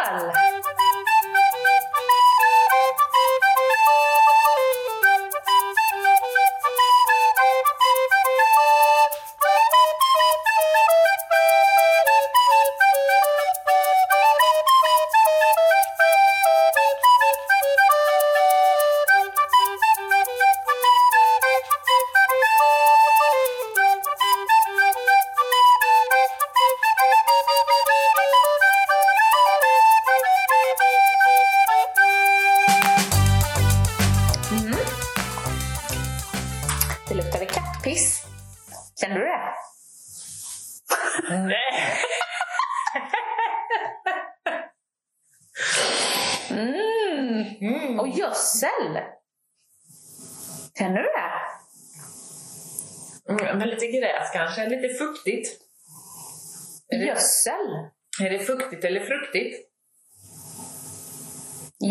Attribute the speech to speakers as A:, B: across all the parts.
A: skål! Mm. Det luktade kattpiss. Kände du det?
B: Nej.
A: Mm.
B: Mm.
A: Och gödsel! Känner du det?
B: Mm, men lite gräs kanske, lite fuktigt. Är det-
A: Gödsel!
B: Är det fuktigt eller fruktigt?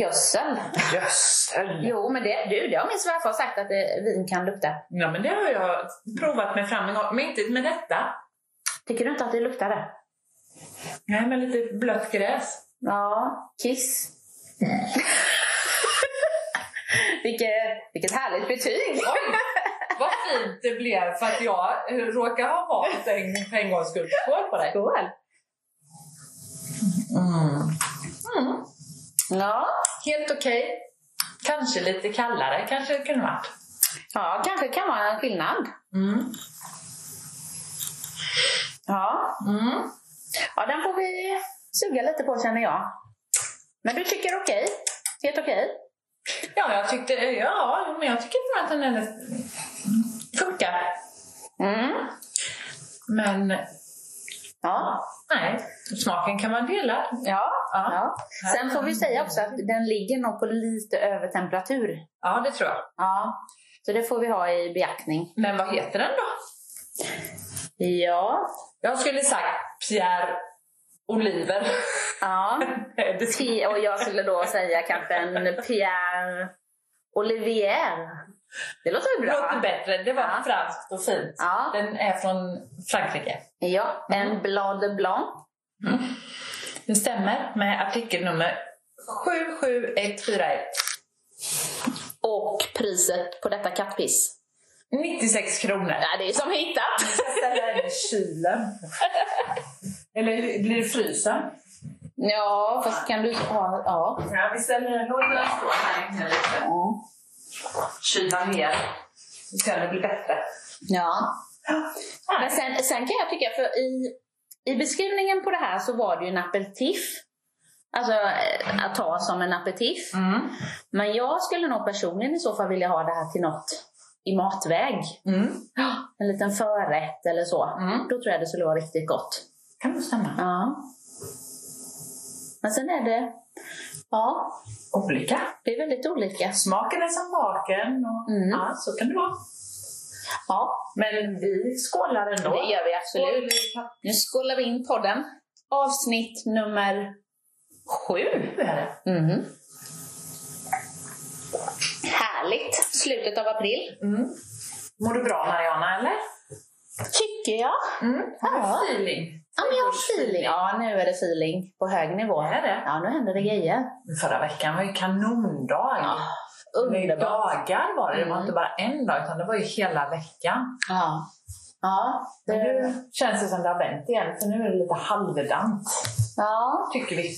A: Gödsel!
B: Gödsel!
A: Jo, men det, du, det har min svärfar sagt att eh, vin kan lukta.
B: Ja, men det har jag provat mig fram en gång, men inte med detta.
A: Tycker du inte att det luktar det?
B: Nej, men lite blött gräs.
A: Ja, kiss.
B: Mm.
A: vilket, vilket härligt betyg!
B: Oj, vad fint det blev för att jag eh, råkar ha valt en för en gångs skull. Skål på dig!
A: Skål!
B: Mm.
A: Ja.
B: Helt okej. Kanske lite kallare, kanske det kunde varit.
A: ja, kanske kan vara en skillnad.
B: Mm.
A: Ja.
B: Mm.
A: ja, den får vi suga lite på känner jag. Men du tycker okej? Helt okej?
B: Ja, jag tyckte, ja, men jag tycker nog att den är lite- funkar.
A: Mm.
B: Men
A: Ja.
B: nej, smaken kan man dela.
A: Ja.
B: Ja,
A: ja. Sen får vi säga också att den ligger nog på lite övertemperatur.
B: ja det tror jag.
A: Ja. Så det får vi ha i beaktning.
B: Men vad heter den då?
A: Ja.
B: Jag skulle sagt Pierre Oliver.
A: Ja.
B: Nej, det skulle-
A: P- och jag skulle då säga kanske en Pierre Olivier. Det låter väl
B: låter
A: bra?
B: bättre. Det var
A: Ja.
B: franskt och fint.
A: Ja.
B: Den är från Frankrike.
A: ja, en Blanc de Blanc.
B: Det stämmer med artikelnummer 77141.
A: Och priset på detta kattpiss?
B: 96 kronor.
A: Nej, det är som hittat!
B: Ställa den i kylen. Eller blir det frysen?
A: Ja, fast kan du ha... Ja.
B: Ja, vi ställer den, låter den stå här inne lite. Kyla ner. Så ska det bli bättre.
A: ja. Men sen, sen kan jag tycka, för i, i beskrivningen på det här så var det ju en aperitif. Alltså eh, att ta som en aperitif.
B: Mm.
A: Men jag skulle nog personligen i så fall vilja ha det här till något i matväg.
B: Mm.
A: En liten förrätt eller så.
B: Mm.
A: Då tror jag det skulle vara riktigt gott.
B: Kan nog stämma.
A: Ja. Men sen är det... Ja,
B: Olika.
A: det är väldigt olika.
B: Smaken är som baken. Och,
A: Mm.
B: Ja, så kan det vara.
A: Ja,
B: Men vi skålar ändå.
A: det gör vi absolut. Nu skålar vi in podden. Avsnitt nummer sju.
B: Nu är det.
A: Mm. Härligt! Slutet av april.
B: Mm. Mår du bra Mariana, eller?
A: Tycker jag.
B: Mm.
A: Ja.
B: Feeling.
A: Ja, men jag har feeling. Ja, nu är det feeling på hög nivå.
B: Det är det.
A: Ja, nu händer det grejer.
B: Förra veckan var ju kanondag.
A: Ja,
B: Det var ju
A: underbart.
B: dagar var det. Det var
A: Mm.
B: inte bara en dag, utan det var ju hela veckan.
A: Ja. Ja,
B: Men
A: det,
B: nu känns det som det har vänt igen, för nu är det lite halvdant.
A: ja.
B: Tycker vi.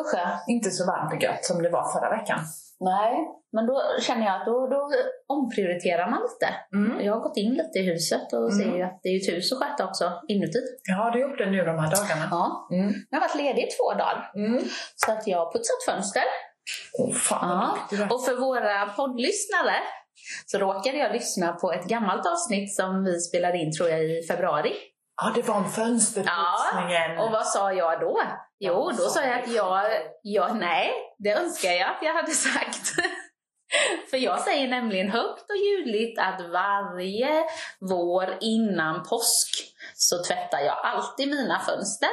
A: usch ja.
B: Inte så varmt och gött som det var förra veckan.
A: Nej, men då känner jag att då, då omprioriterar man lite.
B: Mm.
A: Jag har gått in lite i huset och ser
B: Mm.
A: ju att det är ju ett hus att sköta också inuti.
B: Jag har gjort det nu de här dagarna.
A: Ja.
B: Mm.
A: Jag har varit ledig i två dagar
B: Mm.
A: så att jag har putsat fönster.
B: Oh, fan vad
A: Ja.
B: duktig du är.
A: Och för våra poddlyssnare så råkade jag lyssna på ett gammalt avsnitt som vi spelade in tror jag i februari.
B: Ja, det var om fönsterputsningen.
A: Och vad sa jag då? Jo,
B: Ja,
A: då sa
B: sa
A: jag
B: du.
A: att jag, jag... Nej, det önskar jag att jag hade sagt. För jag säger nämligen högt och ljudligt att varje vår innan påsk så tvättar jag alltid mina fönster.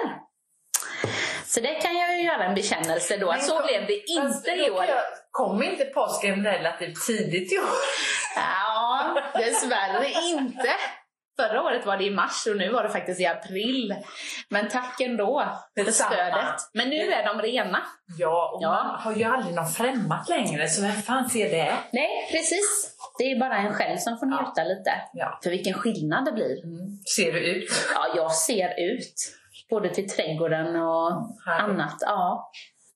A: Så det kan jag ju göra en bekännelse då.
B: Men
A: Så
B: kom-
A: blev det
B: Fast
A: inte
B: då
A: i år.
B: kan jag- Kom inte påsken relativt tidigt i år?
A: Ja, dessvärre inte. Förra året var det i mars och nu var det faktiskt i april. Men tack ändå för
B: Detsamma.
A: stödet. Men nu är de rena.
B: Ja, och
A: Ja.
B: man har ju aldrig någon främmat längre, så vem fan ser det?
A: Nej, precis. Det är bara en själv som får njuta lite.
B: Ja.
A: För vilken skillnad det blir.
B: Ser du ut?
A: Ja, jag ser ut. Både till trädgården och
B: Härligt.
A: annat. Ja.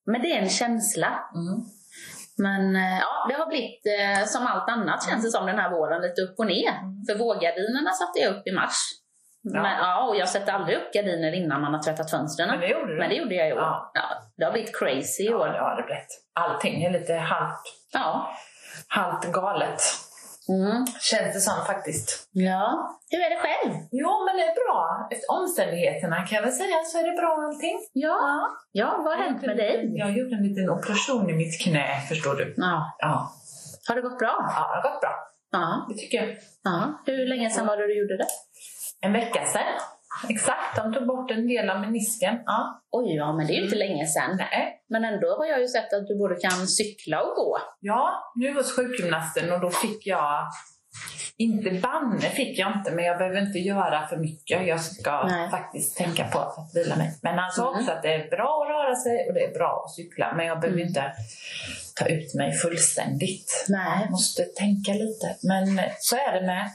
A: Men det är en känsla. Men eh, ja, det har blivit eh, som allt annat känns det som den här våren, lite upp och ner. För vårgardinerna satte jag upp i mars.
B: Mm. Ja.
A: Men, ja, och jag sätter aldrig upp gardiner innan man har tvättat fönstren.
B: Men det gjorde du.
A: Men det gjorde jag i år. Ja.
B: Ja.
A: det har blivit crazy i
B: Ja,
A: år.
B: det har det blivit. Allting är lite halvt,
A: Ja.
B: halvt galet.
A: Mm.
B: Känns det som faktiskt.
A: ja. Hur är det själv?
B: Jo, men det är bra. Efter omständigheterna kan jag väl säga så är det bra allting.
A: Ja, ja vad har hänt med dig?
B: Jag gjorde en liten operation i mitt knä, förstår du.
A: Ja.
B: Ja,
A: Har det gått bra?
B: ja det har gått bra.
A: Ja.
B: Det tycker jag.
A: ja. Hur länge sedan var det du gjorde det?
B: En vecka sedan. Exakt, de tog bort en del av menisken. Ja.
A: Oj, ja, men det är ju inte länge sedan.
B: Nej.
A: Men ändå har jag ju sett att du både kan cykla och gå.
B: Ja, nu hos sjukgymnasten och då fick jag inte banne fick jag inte, men jag behöver inte göra för mycket. Jag ska
A: Nej.
B: faktiskt tänka på att vila mig. Men han sa
A: Mm.
B: också att det är bra att röra sig och det är bra att cykla, men jag behöver
A: Mm.
B: inte ta ut mig fullständigt.
A: Nej.
B: Jag måste tänka lite, men så är det med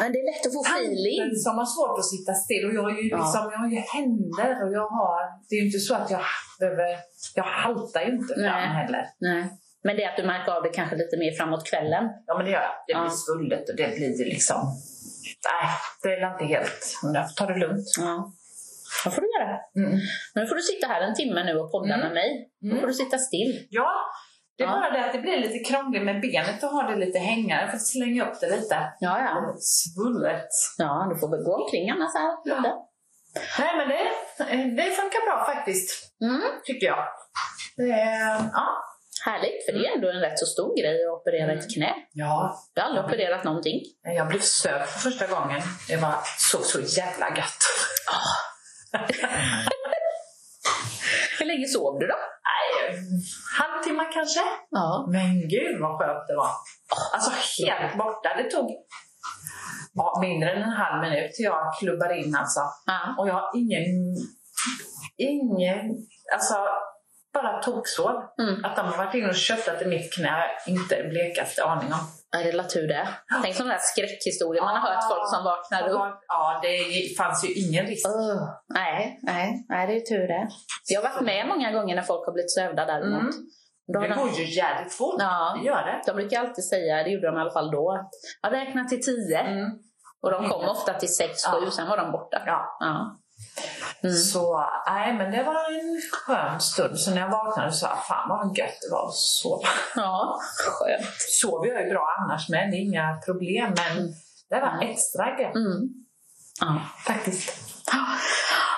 A: Men det är lätt att få
B: tanten
A: feeling.
B: som har svårt att sitta still. Och jag har ju,
A: Ja.
B: liksom, jag har ju händer och jag har... Det är ju inte så att jag behöver... Jag haltar ju inte fram
A: Nej.
B: heller.
A: Nej. Men det är att du märker av det kanske lite mer framåt kvällen.
B: Ja, men det gör jag. Det
A: Ja.
B: blir svullet och det blir ju liksom... Nej, det är inte helt... Men Jag får ta det lugnt.
A: Ja. Vad får du göra?
B: Mm.
A: Nu får du sitta här en timme nu och podda
B: Mm.
A: med mig. Då
B: Mm.
A: får du sitta still.
B: Ja, det är
A: Ja.
B: bara det att det blir lite krångligt med benet och har det lite hängande. Jag får slänga upp det lite.
A: Ja, ja.
B: Svullet.
A: Ja, du får väl gå omkring annars här lite.
B: Nej, men det, eh, det funkar bra faktiskt,
A: Mm.
B: tycker jag. Eh, ja.
A: Härligt, för det är ändå en rätt så stor grej att operera ett knä.
B: ja,
A: Jag har aldrig opererat någonting.
B: Nej, Jag blev sövd för första gången. Det var så, så jävla gött.
A: Hur länge sov du då?
B: Nej, halvtimme kanske.
A: Ja.
B: Men gud vad skönt det var. Alltså helt borta. Det tog ja, mindre än en halv minut till jag klubbar in alltså.
A: ja.
B: Och jag har ingen... Ingen... Alltså, bara toksov.
A: Mm.
B: Att de har varit inne och köttat i mitt knä har jag inte blekaste aning om.
A: Ja, det är la tur det. Tänk sådana där skräckhistorier man har hört folk som vaknar upp.
B: Ja, det fanns ju ingen risk.
A: Öh, nej, nej, nej, det är ju tur det. Jag har varit med många gånger när folk har blivit sövda däremot.
B: Mm.
A: Då har
B: Det
A: de,
B: går ju jävligt fort.
A: ja,
B: Det gör det.
A: de brukar alltid säga, det gjorde de i alla fall då, att jag räknar till tio.
B: Mm.
A: Och de kom ofta till sex,
B: Ja.
A: sju, sen var de borta.
B: Ja.
A: Ja. Mm.
B: Så nej, men det var en skön stund. Så när jag vaknade så sa jag, fan vad gött det var att sova.
A: ja, skönt.
B: Sover jag ju bra annars med, det är inga problem. Men det var extra gött
A: Mm. Ja.
B: faktiskt.
A: Ja,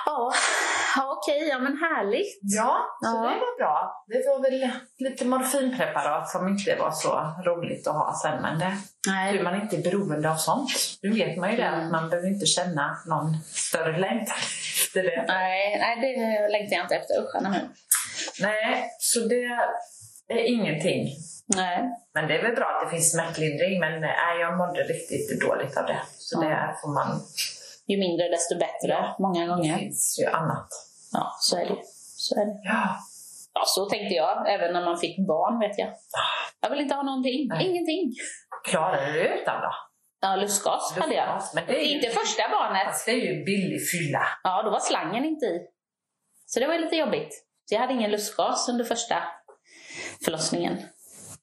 A: ja okej, ja men härligt.
B: Ja, så
A: Ja.
B: det var bra. Det var väl lite morfinpreparat som inte var så roligt att ha sen. Men det,
A: Nej.
B: hur man inte är beroende av sånt. Nu vet man ju det,
A: Mm.
B: att man behöver inte känna någon större längtan efter det.
A: Nej, nej, det längtar jag inte efter. Usch, nej.
B: Nej, så det är ingenting
A: nej.
B: Men det är väl bra att det finns smärtlindring, men nej, jag mådde riktigt dåligt av det. Så
A: Ja.
B: det får man...
A: Ju mindre desto bättre, många
B: Det
A: gånger.
B: finns ju annat.
A: Ja, så är det. Så är det.
B: Ja.
A: Ja, så tänkte jag, även när man fick barn vet jag. Jag vill inte ha någonting,
B: Nej.
A: ingenting.
B: Klarar du det utan då?
A: Ja, lustgas hade jag.
B: Men det är ju,
A: Inte första barnet.
B: fast det är ju billig fylla.
A: Ja, då var slangen inte i. Så det var ju lite jobbigt. Så jag hade ingen lustgas under första förlossningen.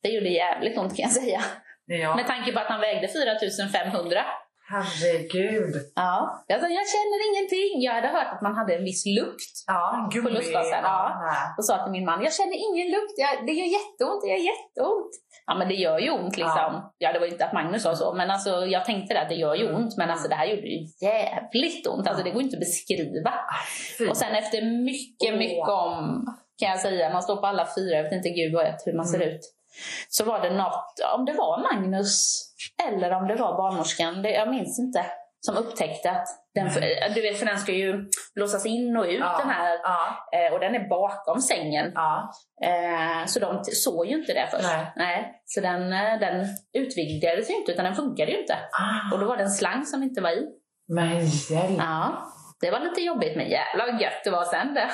A: Det gjorde jävligt ont kan jag säga.
B: Ja.
A: Med tanke på att han vägde 4500.
B: Herregud.
A: Ja. Jag sa, jag känner ingenting. Jag hade hört att man hade en viss lukt.
B: Ja, gummi.
A: På lustgasen, ja.
B: nej.
A: Och sa till min man, jag känner ingen lukt, jag, det gör jätteont, det gör jätteont. Ja men det gör ju ont liksom. Ja, det var ju inte att Magnus sa så, men alltså jag tänkte det att det gör ju ont, men alltså det här gjorde ju jävligt ont. Alltså det går ju inte att beskriva.
B: Fy.
A: Och sen efter mycket,
B: Typ. Åh.
A: mycket om, kan jag säga, man står på alla fyra, jag vet inte gud vad jag, hur man
B: Mm.
A: ser ut. Så var det något, om det var Magnus eller om det var barnmorskan, det, jag minns inte, som upptäckte att den, för, du vet för den ska ju låsas in och ut
B: Mm. Ja.
A: den här
B: Ja,
A: Eh, och den är bakom sängen.
B: ja.
A: Eh, så de t- såg ju inte det först.
B: Nej.
A: Så den, eh, den utvidgades ju inte utan den funkade ju inte.
B: Ah.
A: Och då var det en slang som inte var i.
B: Men hjälp!
A: Ja, det var lite jobbigt men jävlar vad gött det var sen det.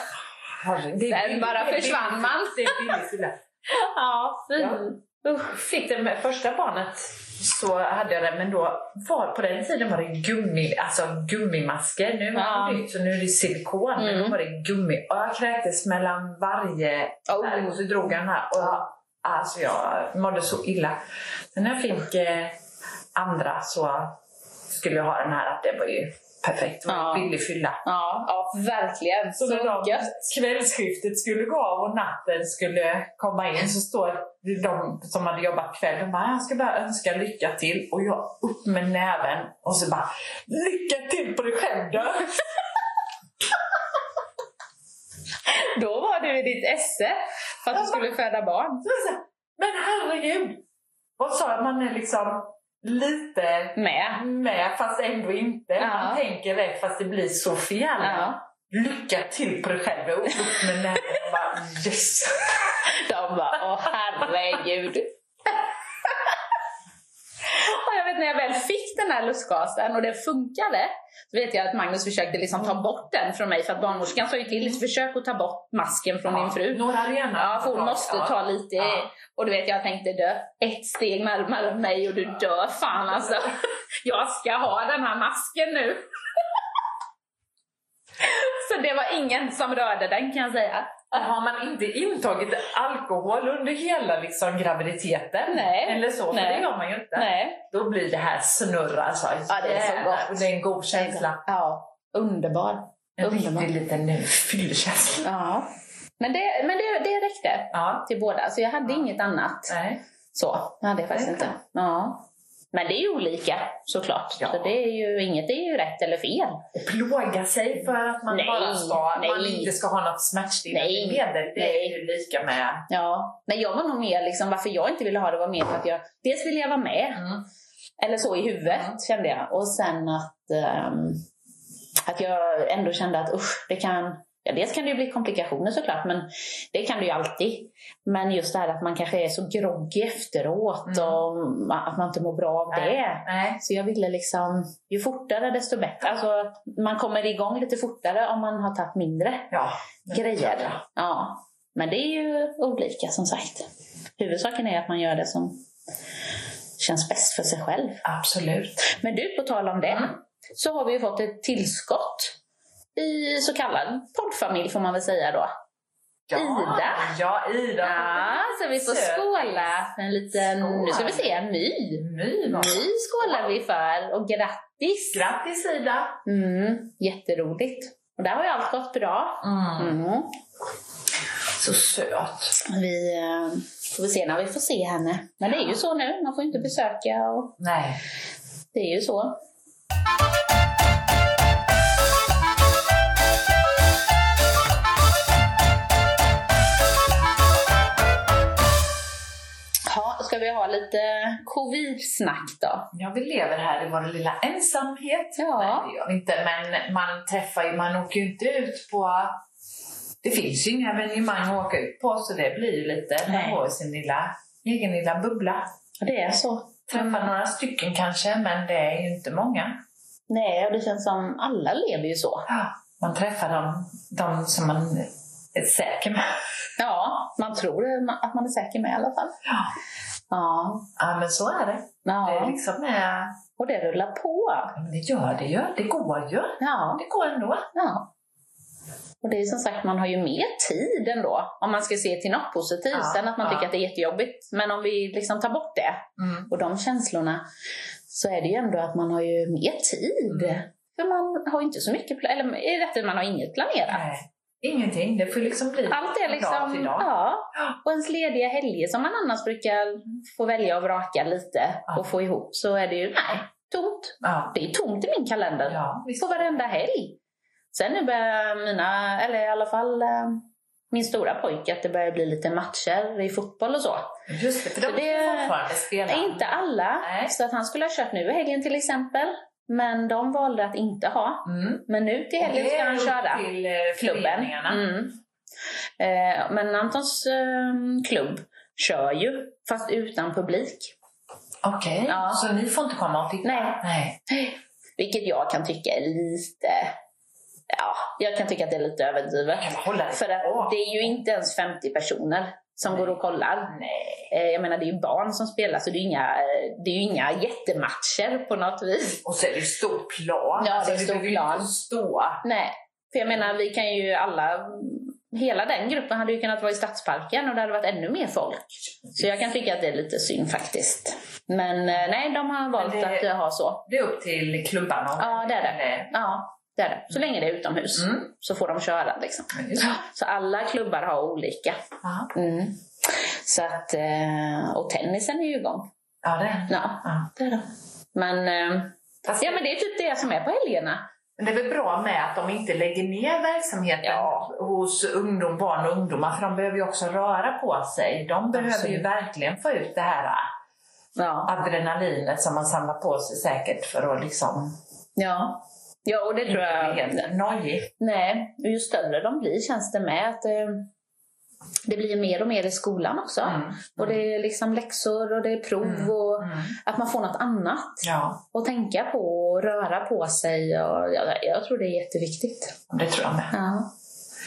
B: Herregud. Det är
A: Sen bara
B: billigt.
A: försvann man.
B: Det är billigt illa.
A: Ja, fy.
B: Ja. Usch, fick det med första barnet så hade jag det, men då var, på den tiden var det gummi, alltså gummimasker. Nu
A: Ja.
B: är det nytt, så nu är det silikon. Men
A: Mm.
B: då var det gummi. Och jag kräktes mellan varje
A: Oh.
B: och så drog jag den här. Och, Alltså jag mådde så illa. Sen när jag fick eh, andra så skulle jag ha den här. att Det var ju perfekt. Det var
A: Ja.
B: en billig fylla.
A: Ja, ja, verkligen. Så,
B: Så när de
A: gött.
B: kvällsskiftet skulle gå av och natten skulle komma in så står de som hade jobbat kväll de bara, jag ska bara önska lycka till och jag upp med näven och så bara, lycka till på dig själv då!
A: Då var du i ditt esse för att du skulle föda barn.
B: Så jag sa, Men herregud! Vad sa jag, man är liksom lite
A: Med.
B: med fast ändå inte.
A: Ja.
B: Man tänker rätt fast det blir så fel.
A: Ja.
B: Lycka till på dig själv och upp med näven och bara yes!
A: De bara, åh herregud. Och jag vet när jag väl fick den här lustgasen och det funkade så vet jag att Magnus försökte liksom ta bort den från mig för att barnmorskan sa ju till försök att ta bort masken från din fru.
B: Några rena.
A: Ja, för hon måste ta lite.
B: Ja.
A: Och du vet, jag tänkte dö ett steg närmare mig och du dör fan alltså. Jag ska ha den här masken nu. Så det var ingen som rörde den kan jag säga.
B: Har man inte intagit alkohol under hela liksom, graviditeten?
A: Nej.
B: Eller så, för
A: Nej.
B: det gör man ju inte.
A: Nej.
B: Då blir det här snurr alltså.
A: Ja, det är så
B: Jävlar,
A: gott.
B: Det är en god känsla.
A: Ja, underbar.
B: En
A: Underbar.
B: riktig liten eh, fyllekänsla.
A: Ja. Men det, men det, det räckte
B: Ja.
A: till båda, så jag hade
B: Ja.
A: inget annat.
B: Nej.
A: Så, jag hade jag faktiskt inte. Ja. Men det är ju olika såklart.
B: Ja.
A: Så det är ju, inget är ju rätt eller fel.
B: Och plåga sig för att man
A: Nej,
B: bara ska, man
A: nej.
B: inte ska ha något smärtstillande
A: Nej,
B: medel. Det
A: nej.
B: är ju lika med...
A: Ja, men jag var nog mer liksom, varför jag inte ville ha det var mer för att jag, dels ville jag vara med,
B: Mm.
A: eller så i huvudet
B: Mm.
A: kände jag. Och sen att, ehm, att jag ändå kände att usch, det kan, ja dels kan det ju bli komplikationer såklart, men det kan det ju alltid. Men just det här att man kanske är så groggy efteråt
B: Mm.
A: och ma- att man inte mår bra av
B: Nej.
A: det.
B: Nej.
A: Så jag ville liksom, ju fortare desto bättre. Alltså, man kommer igång lite fortare om man har tagit mindre
B: Ja.
A: grejer. Ja. Men det är ju olika som sagt. Huvudsaken är att man gör det som känns bäst för sig själv.
B: Absolut.
A: Men du, på tal om det, så har vi ju fått ett tillskott i så kallad poddfamilj får man väl säga då.
B: Ja.
A: Ida.
B: Ja, Ida.
A: Ja, så vi får
B: Söt.
A: skåla för en liten,
B: Skål.
A: nu ska vi se, en ny.
B: My, vad-
A: Ny skålar vi för och grattis!
B: Grattis Ida!
A: Mm, jätteroligt. Och där har ju allt gått bra. Mm.
B: Så söt.
A: Vi eh, får väl se när vi får se henne. Men det är ju så nu, man får ju inte besöka och
B: Nej.
A: det är ju så. Ha, ska vi ha lite covid-snack då?
B: Ja, vi lever här i vår lilla ensamhet.
A: Ja.
B: Nej, det gör vi inte. Men man träffar ju, man åker ju inte ut på... Det finns ju inga evenemang att åka ut på så det blir ju lite...
A: Nej.
B: Man har ju sin lilla, egen lilla bubbla.
A: Ja, Det är så.
B: Träffar
A: Mm.
B: några stycken kanske, men det är ju inte många.
A: Nej, och det känns som alla lever ju så.
B: Ja, Man träffar de, de som man är säker med.
A: Ja, man tror att man är säker med i alla fall.
B: Ja.
A: Ja.
B: ja, men så är det. Det, är
A: ja.
B: liksom, eh,
A: Och det rullar på.
B: ja, men det gör det ju. Det går ju.
A: Ja.
B: Det går ändå.
A: ja. Och det är ju som sagt, man har ju mer tid ändå. Om man ska se till något positivt.
B: Ja,
A: Sen att man
B: ja.
A: tycker att det är jättejobbigt. Men om vi liksom tar bort det och de känslorna. Så är det ju ändå att man har ju mer tid.
B: Mm.
A: För man har ju inte så mycket, pla- eller i rättare man har inget planerat.
B: Nej, ingenting. Det får liksom bli
A: Allt är
B: från dag
A: liksom,
B: till dag.
A: ja. Och ens lediga helger som man annars brukar få välja och vraka lite
B: Ja.
A: och få ihop. Så är det ju, nej, tomt.
B: Ja.
A: Det är tomt i min kalender.
B: Ja, visst.
A: på varenda helg. Sen nu börjar mina, eller i alla fall eh, min stora pojke, att det börjar bli lite matcher i fotboll och så.
B: Just det, för de
A: För det-
B: är fortfarande spela.
A: Inte alla,
B: Nej.
A: så att han skulle ha kört nu i helgen till exempel. Men de valde att inte ha.
B: Mm.
A: Men nu till helgen ska han
B: upp
A: köra.
B: till eh,
A: Klubben.
B: föreningarna.
A: Mm. Eh, men Antons eh, klubb kör ju, fast utan publik.
B: Okej,
A: Ja.
B: så ni får inte komma och titta?
A: Nej.
B: Nej.
A: Vilket jag kan tycka är lite... Ja, jag kan tycka att det är lite överdrivet.
B: Kan man hålla det?
A: För
B: Ja.
A: att det är ju inte ens 50 personer som går och kollar.
B: Nej.
A: Eh, Jag menar det är ju barn som spelar så det är ju inga, eh, det är ju inga jättematcher på något vis.
B: Och så är det ju stor plan.
A: Ja, det är
B: Så
A: stor
B: du behöver ju
A: plan.
B: inte Stå.
A: Nej, för jag menar vi kan ju alla, hela den gruppen hade ju kunnat vara i Stadsparken och det hade varit ännu mer folk. Så jag kan tycka att det är lite synd faktiskt. Men eh, nej, de har valt
B: det-
A: att eh, ha så.
B: Det är upp till klubbarna. eh,
A: Ja, det är det.
B: Eller-
A: Ja, det är det. Så länge det är utomhus
B: Mm.
A: så får de köra liksom.
B: Men just-
A: Så alla klubbar har olika.
B: Ja.
A: Mm. Så att, eh, och tennisen är ju igång.
B: Ja, det.
A: Ja,
B: Ja.
A: det är det. Men, eh,
B: Fast
A: ja, men det är typ det som är på helgerna.
B: Men det är väl bra med att de inte lägger ner verksamheten
A: Ja.
B: hos ungdom, barn och ungdomar för de behöver ju också röra på sig. De behöver ju
A: Absolut.
B: verkligen få ut det här
A: Ja.
B: adrenalinet som man samlar på sig säkert för att liksom
A: Ja. ja, och det tror
B: bli
A: jag.
B: helt nojig.
A: Nej, och ju större de blir känns det med att eh, det blir mer och mer i skolan också.
B: Mm.
A: Och det är liksom läxor och det är prov
B: Mm.
A: och
B: Mm.
A: att man får något annat
B: Ja,
A: att tänka på och röra på sig. Och, jag, jag tror det är jätteviktigt.
B: det tror jag med.
A: Ja.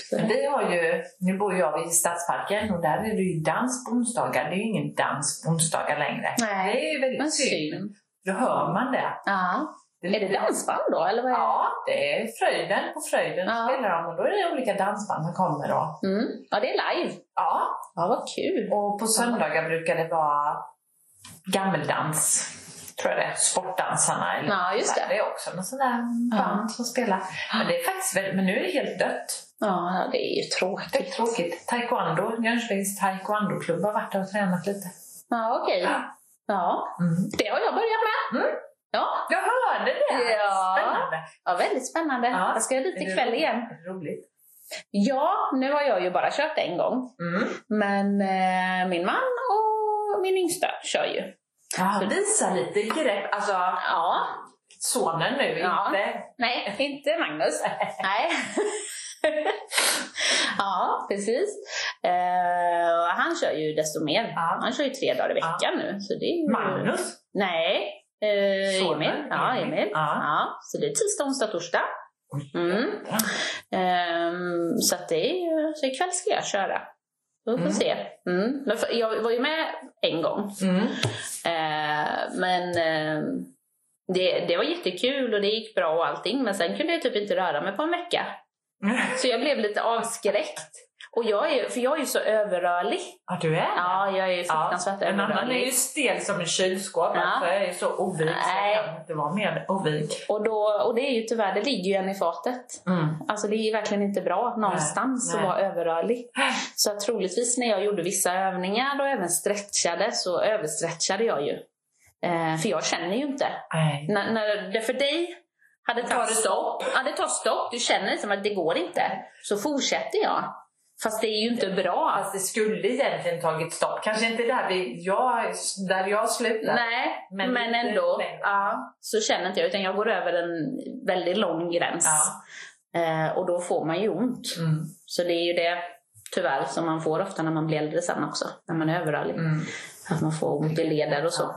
A: Så-
B: Men vi har ju, nu bor jag vid Stadsparken och där är det ju dans på onsdagar. Det är ju ingen dans på onsdagar längre.
A: Nej,
B: det är ju väldigt
A: Men
B: synd.
A: syn.
B: Då hör man det.
A: Ja.
B: är
A: Är det
B: lite-
A: dansband då? Eller vad är det?
B: Ja, det är Fröjden. På Fröjden
A: Eh. Ja.
B: spelar de och då är det olika dansband som kommer. Och,
A: Mm. ja, det är live.
B: ja,
A: Ja, vad kul.
B: och på söndagar brukar det vara gammeldans, tror jag det är. Sportdansarna eller
A: Ja, just det.
B: det är också någon sån där band
A: Ja.
B: som spelar. Men det är faktiskt väldigt, men nu är det helt dött.
A: Ja, det är ju
B: Det
A: tråkigt.
B: är tråkigt. Taekwondo, Jönköpings taekwondoklubb har varit där och tränat lite.
A: Ja, okej. Ja,
B: Mm.
A: det har jag börjat med.
B: Mm.
A: Ja,
B: Jag hörde det!
A: Ja.
B: Spännande!
A: ja väldigt spännande.
B: Ja.
A: Jag ska dit
B: Är det
A: ikväll
B: roligt?
A: igen.
B: Är det Roligt.
A: Ja, nu har jag ju bara kört en gång.
B: Mm.
A: Men eh, min man och min yngsta kör ju.
B: Ja, visa lite grepp. Alltså,
A: Ja,
B: sonen nu,
A: Ja.
B: inte
A: nej, inte Magnus. nej. ja, precis. Eh, och han kör ju desto mer.
B: Ja.
A: Han kör ju tre dagar i veckan nu. Så det är ju...
B: Magnus.
A: Nej. Eh,
B: Sonen,
A: Emil. Ja,
B: Emil.
A: Emil.
B: Ja.
A: Ja, så det är tisdag, onsdag, torsdag. Mm. Ehm, så att det är ju, så ikväll ska jag köra. Vi får
B: Mm.
A: se. Mm. Men för, jag var ju med en gång.
B: Mm.
A: Eh, men ehm, det, det var jättekul och det gick bra och allting. Men sen kunde jag typ inte röra mig på en vecka.
B: Mm.
A: Så jag blev lite avskräckt. Och jag är, för jag är ju så överrörlig.
B: Ja, du är
A: Ja, jag är ju fruktansvärt
B: En annan är
A: överrörlig.
B: ju stel som en kylskåp.
A: Ja.
B: Alltså, jag är så ovig så jag
A: Nej.
B: kan inte vara mer ovig. Mm.
A: Och, då, och det är ju tyvärr, det ligger ju en i fatet. Alltså det är ju verkligen inte bra någonstans
B: nej.
A: att vara överrörlig. Så att troligtvis när jag gjorde vissa övningar och även stretchade så överstretchade jag ju. Eh, för jag känner ju inte.
B: Nej.
A: När, när det för dig hade
B: Tar
A: tagit
B: det stopp?
A: Ja, det tar stopp. Du känner liksom att det går inte. Så fortsätter jag. Fast det är ju inte bra. Alltså,
B: Fast det skulle egentligen tagit stopp. Kanske inte där, vi, jag, där jag slutar.
A: Nej,
B: Men
A: men,
B: lite
A: ändå.
B: längre.
A: Ja, så känner inte jag. Utan jag går över en väldigt lång gräns.
B: Ja.
A: Eh, och då får man ju ont.
B: Mm.
A: Så det är ju det tyvärr som man får ofta när man blir äldre sen också. När man är överallt.
B: Mm.
A: Att man får ont i leder och så.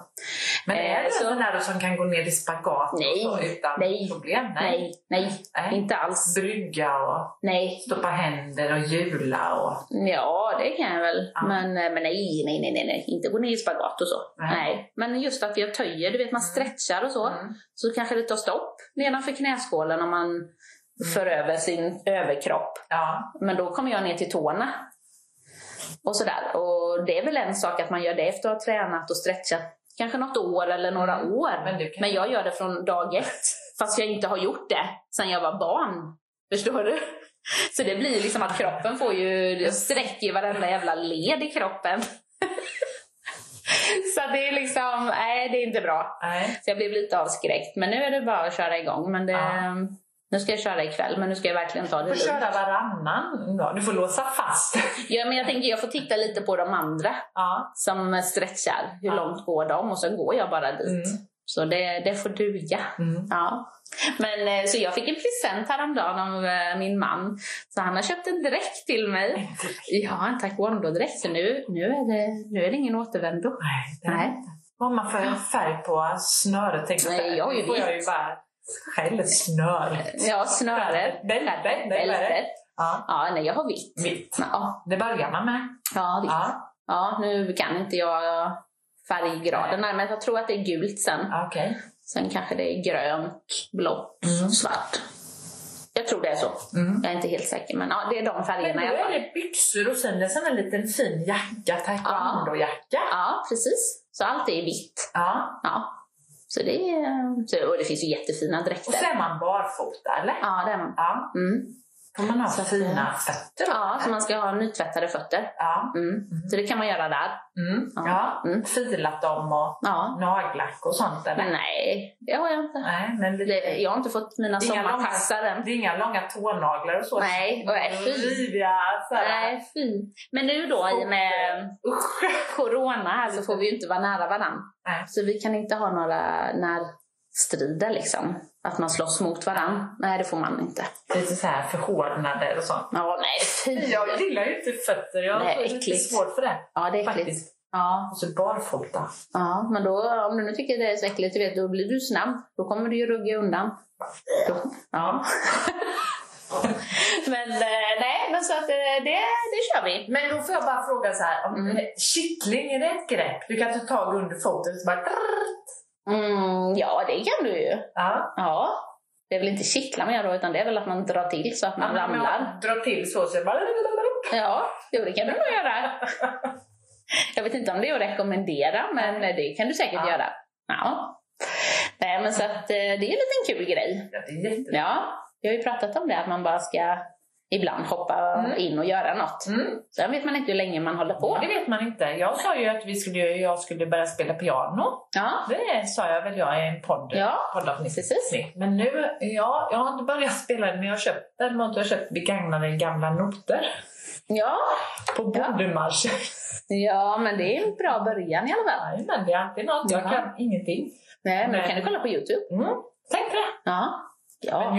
B: Men är
A: Eh,
B: du
A: så-
B: en sån där som kan gå ner i spagat
A: Nej.
B: och så utan
A: Nej.
B: problem?
A: Nej, nej,
B: Nej.
A: inte alls.
B: Brygga och
A: Nej.
B: stoppa händer och hjula och...
A: Ja, det kan jag väl.
B: Ja.
A: Men, eh, men nej, nej, nej, nej, nej. Inte gå ner i spagat och så.
B: Nej.
A: Nej. Men just att jag töjer, du vet man stretchar och så.
B: Mm.
A: Så kanske det tar stopp nedanför knäskålen om man för över sin överkropp.
B: Ja.
A: Men då kommer jag ner till tårna. Och sådär. Och det är väl en sak att man gör det efter att ha tränat och stretchat kanske något år eller några år.
B: Mm. Men du kan-
A: jag gör det från dag ett. Fast jag inte har gjort det sedan jag var barn. Förstår du? Så det blir liksom att kroppen får ju sträck i varenda jävla led i kroppen. Så det är liksom, nej det är inte bra.
B: Nej.
A: Så jag blev lite avskräckt. Men nu är det bara att köra igång. Men det,
B: Ja.
A: Nu ska jag köra ikväll men nu ska jag verkligen ta det
B: Du får
A: lugnt.
B: köra varannan dag. Du får låsa fast.
A: Ja, men jag tänker jag får titta lite på de andra
B: ja.
A: som stretchar. Hur
B: Ja.
A: långt går de? Och så går jag bara dit.
B: Mm.
A: Så det, det får duga.
B: Mm.
A: Ja. Men, eh, så jag fick en present häromdagen av eh, min man. Så han har köpt en dräkt till mig. Ja, en taekwondo-dräkt. Så nu, nu, är det, nu är det ingen återvändo.
B: Nej. det-
A: Nej.
B: Vad man för färg på snöret. Tänkte,
A: Nej, jag har ju
B: Då får jag ju
A: vitt.
B: bara Eller snöret.
A: Ja, snöret.
B: Bältet, bältet,
A: Bältet.
B: Ja.
A: Ja, nej, jag har vitt.
B: Vitt.
A: Ja,
B: Det börjar man med.
A: ja vitt.
B: Ja,
A: Ja, nu kan inte jag färggraderna, men jag tror att det är gult sen.
B: okej.
A: Sen kanske det är grönt, blått,
B: Mm.
A: svart. Jag tror det är så.
B: Mm.
A: Jag är inte helt säker, men ja, det är de
B: Men
A: färgerna
B: då
A: i alla
B: är
A: fall.
B: det byxor och sen är det sån här liten fin jacka, taekwondo-jacka.
A: Ja, precis. Så allt är vitt.
B: Ja.
A: Ja. Så det är, så, och det finns ju jättefina
B: Och så
A: dräkter.
B: är man barfota, eller?
A: Ja, det är man.
B: Ja.
A: Mm.
B: Får man ha
A: Så att-
B: fina fötter?
A: Ja, så man ska ha nytvättade fötter.
B: Ja.
A: Mm. Så det kan man göra där.
B: Mm.
A: Ja.
B: ja.
A: Mm.
B: Filat dem och
A: Ja.
B: nagellack och sånt, eller?
A: Nej, det har jag inte.
B: Nej, men lite...
A: Det, jag har inte fått mina
B: Inga
A: sommarpassar än.
B: Det är inga långa tånaglar och så.
A: Nej, och nej, fy.
B: Riviga såhär.
A: Nej, fy. Men nu då i och med
B: Usch.
A: corona här så får vi ju inte vara nära varandra.
B: Nej.
A: Så vi kan inte ha några närstrider liksom. Att man slåss mot varandra. Nej, det får man inte.
B: Lite såhär förhårdnader och sånt.
A: Ja, nej fy.
B: Jag gillar ju inte fötter. Jag
A: Nej,
B: har lite
A: äckligt.
B: svårt för det.
A: Ja, det är äckligt.
B: Faktiskt.
A: Ja,
B: Och så barfota.
A: ja, men då, om du nu tycker det är så äckligt, du vet, då blir du snabb. Då kommer du ju rugga undan. Då, ja. men eh, nej, men så att eh, det, det kör vi.
B: Men då får jag bara fråga så här. Om,
A: Mm.
B: Kittling, är det ett grepp? Du kan ta tag under foten och så bara...
A: Mm, ja, det kan du ju.
B: Ja.
A: Ja. Det är väl inte kittla man gör då, utan det är väl att man drar till så att man
B: Om jag
A: ramlar.
B: Drar till så så jag bara...
A: Ja, jo, det kan du nog göra. Jag vet inte om det är att rekommendera, men det kan du säkert
B: Ja.
A: göra. Ja. Nej, men så att eh, det är en liten kul grej.
B: Ja, Det är jättebra.
A: Ja, vi har ju pratat om det, att man bara ska ibland hoppa
B: Mm.
A: in och göra något.
B: Mm.
A: Sen vet man inte hur länge man håller
B: Och
A: på.
B: det vet man inte. Jag sa ju att vi skulle, jag skulle börja spela piano.
A: Ja,
B: Det sa jag väl jag i en podd.
A: Ja,
B: poddavsnitt.
A: precis.
B: Snyggt. Men nu, ja, jag har inte börjat spela den men jag har köpt den. Däremot har jag köpt begagnade gamla noter
A: Ja,
B: på bondemarschen.
A: ja men det är en bra början i alla fall.
B: Nej, men det är alltid något. Jag
A: Ja.
B: kan ingenting.
A: Nej, men då
B: Nej.
A: kan du kolla på YouTube.
B: Mm. Tänk på det.
A: Ja.
B: Men